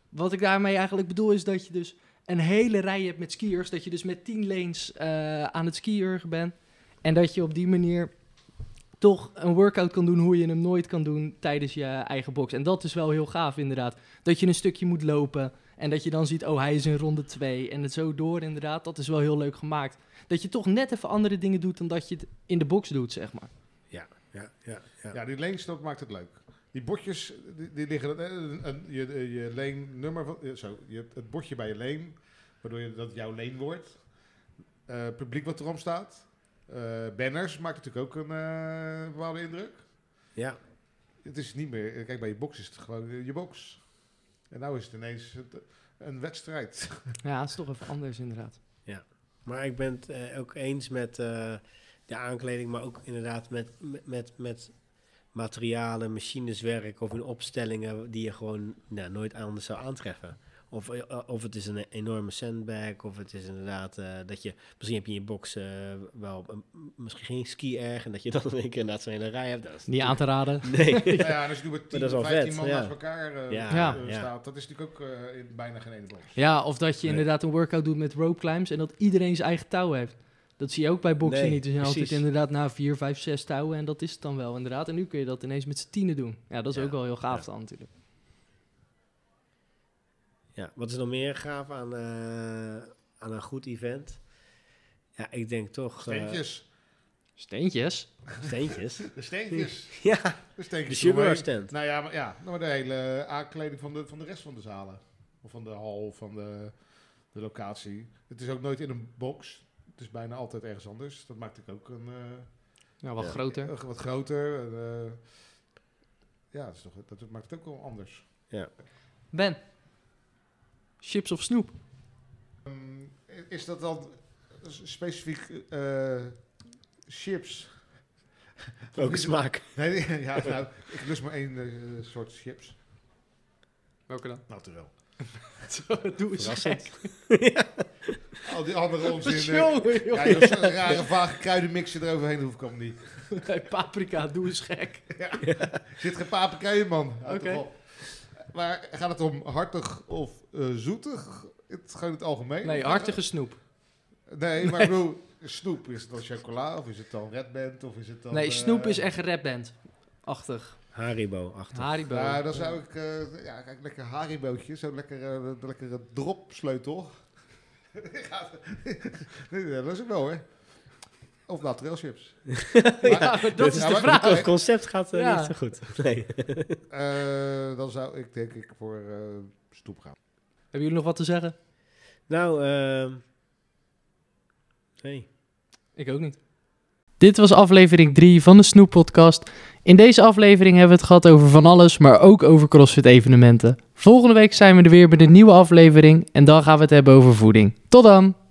Speaker 2: Wat ik daarmee eigenlijk bedoel is dat je dus een hele rij hebt met skiers, dat je dus met 10 lanes eh, aan het skiën bent en dat je op die manier toch een workout kan doen hoe je hem nooit kan doen tijdens je eigen box. En dat is wel heel gaaf inderdaad. Dat je een stukje moet lopen en dat je dan ziet, oh hij is in ronde 2 en het zo door inderdaad. Dat is wel heel leuk gemaakt. Dat je toch net even andere dingen doet dan dat je het in de box doet, zeg maar.
Speaker 1: Ja, ja, ja.
Speaker 3: Ja, die leens, dat maakt het leuk. Die bordjes, die, die liggen... eh, een- een- je, eh, je leennummer... Van, eh, zo, je hebt het bordje bij je leen, waardoor je, dat jouw leen wordt. Eh, publiek wat erom staat. Eh, banners maken natuurlijk ook een eh, bepaalde indruk.
Speaker 1: ja.
Speaker 3: Het is niet meer... eh, Kijk, bij je box is het gewoon eh, je box. En nou is het ineens het- een wedstrijd.
Speaker 2: Ja, het is toch even anders inderdaad.
Speaker 1: Maar ik ben het eh, ook eens met eh, de aankleding, maar ook inderdaad met, met, met materialen, machineswerk of in opstellingen die je gewoon nou, nooit anders zou aantreffen. Of, eh, of het is een enorme sandbag, of het is inderdaad eh, dat je... Misschien heb je in je box eh, wel een- misschien geen ski-erg... en dat je dan in één keer inderdaad zo'n hele rij hebt. Dat is
Speaker 2: Niet aan te raden.
Speaker 1: natuurlijk- Nee.
Speaker 3: Nou ja, en als je nu met 10
Speaker 1: dat is wel
Speaker 3: 15
Speaker 1: vet,
Speaker 3: man
Speaker 1: ja.
Speaker 3: naast elkaar eh,
Speaker 1: Ja,
Speaker 2: Ja.
Speaker 3: eh,
Speaker 1: ja.
Speaker 3: staat, dat is natuurlijk ook eh, in bijna geen ene box.
Speaker 2: Ja, of dat je
Speaker 1: Nee.
Speaker 2: inderdaad een workout doet met rope climbs en dat iedereen zijn eigen touw heeft. Dat zie je ook bij boksen
Speaker 1: Nee,
Speaker 2: niet. Er zijn altijd
Speaker 1: precies.
Speaker 2: inderdaad na vier, vijf, zes touwen en dat is het dan wel inderdaad. En nu kun je dat ineens met z'n tienen doen. Ja, dat is
Speaker 1: Ja,
Speaker 2: ook wel heel gaaf
Speaker 1: ja.
Speaker 2: dan natuurlijk.
Speaker 1: Ja, wat is nog meer gaaf aan, eh, aan een goed event? Ja, ik denk toch... eh,
Speaker 3: Steentjes.
Speaker 2: Steentjes.
Speaker 1: steentjes.
Speaker 3: De steentjes.
Speaker 1: ja,
Speaker 3: De
Speaker 1: de
Speaker 3: steentjes.
Speaker 1: sugar
Speaker 3: eromheen.
Speaker 1: stand.
Speaker 3: Nou ja, maar, ja, nou, maar de hele aankleding van de, van de rest van de zalen. Of van de hal, van de, de locatie. Het is ook nooit in een box. Het is bijna altijd ergens anders. Dat maakt natuurlijk ook een, eh,
Speaker 2: Nou, wat
Speaker 1: Ja.
Speaker 2: groter.
Speaker 3: een wat groter. en, eh, ja, dat, is toch, dat maakt het ook wel anders.
Speaker 2: Ben, chips of snoep?
Speaker 3: Ehm, is dat dan specifiek eh, chips?
Speaker 1: Ook smaak.
Speaker 3: Nee, ja, nou, ik lust maar één eh, soort chips. Nou,
Speaker 2: Welke dan?
Speaker 3: Naturel.
Speaker 2: Doe
Speaker 1: Verrassend.
Speaker 3: Al die andere onzin. eh,
Speaker 2: Jongen,
Speaker 3: Ja,
Speaker 2: jongen.
Speaker 3: dat is een rare vage kruidenmixje eroverheen, hoef ik hem niet.
Speaker 2: Hey, paprika, doe eens gek.
Speaker 3: Er zit geen paprika in, man. Houd
Speaker 2: Oké.
Speaker 3: toch op. Maar gaat het om hartig of eh, zoetig? Het, gewoon in het algemeen?
Speaker 2: Nee, hartige snoep.
Speaker 3: Nee, maar ik bedoel, snoep. Is het dan chocola of is het dan Red Band of is het dan...
Speaker 2: Nee,
Speaker 3: eh,
Speaker 2: snoep is echt een rapband. Achtig.
Speaker 1: Haribo achter.
Speaker 2: Haribo.
Speaker 3: Ja, dan zou ik... eh, ja, kijk, lekker haribootje. Zo'n lekker, eh, de- de lekkere dropsleutel. Ja, dat is het wel, hè? Of naturel chips.
Speaker 2: Ja, maar dat is
Speaker 3: Ja,
Speaker 2: de
Speaker 3: maar-
Speaker 2: vraag.
Speaker 3: Oh,
Speaker 1: Het concept gaat eh,
Speaker 2: Ja.
Speaker 1: niet zo goed. Nee.
Speaker 3: Eh, dan zou ik denk ik voor eh snoep gaan.
Speaker 2: Hebben jullie nog wat te zeggen?
Speaker 1: Nou, ehm nee.
Speaker 2: Ik ook niet. Dit was aflevering 3 van de Snoep Podcast. In deze aflevering hebben we het gehad over van alles, maar ook over CrossFit-evenementen. Volgende week zijn we er weer met een nieuwe aflevering en dan gaan we het hebben over voeding. Tot dan!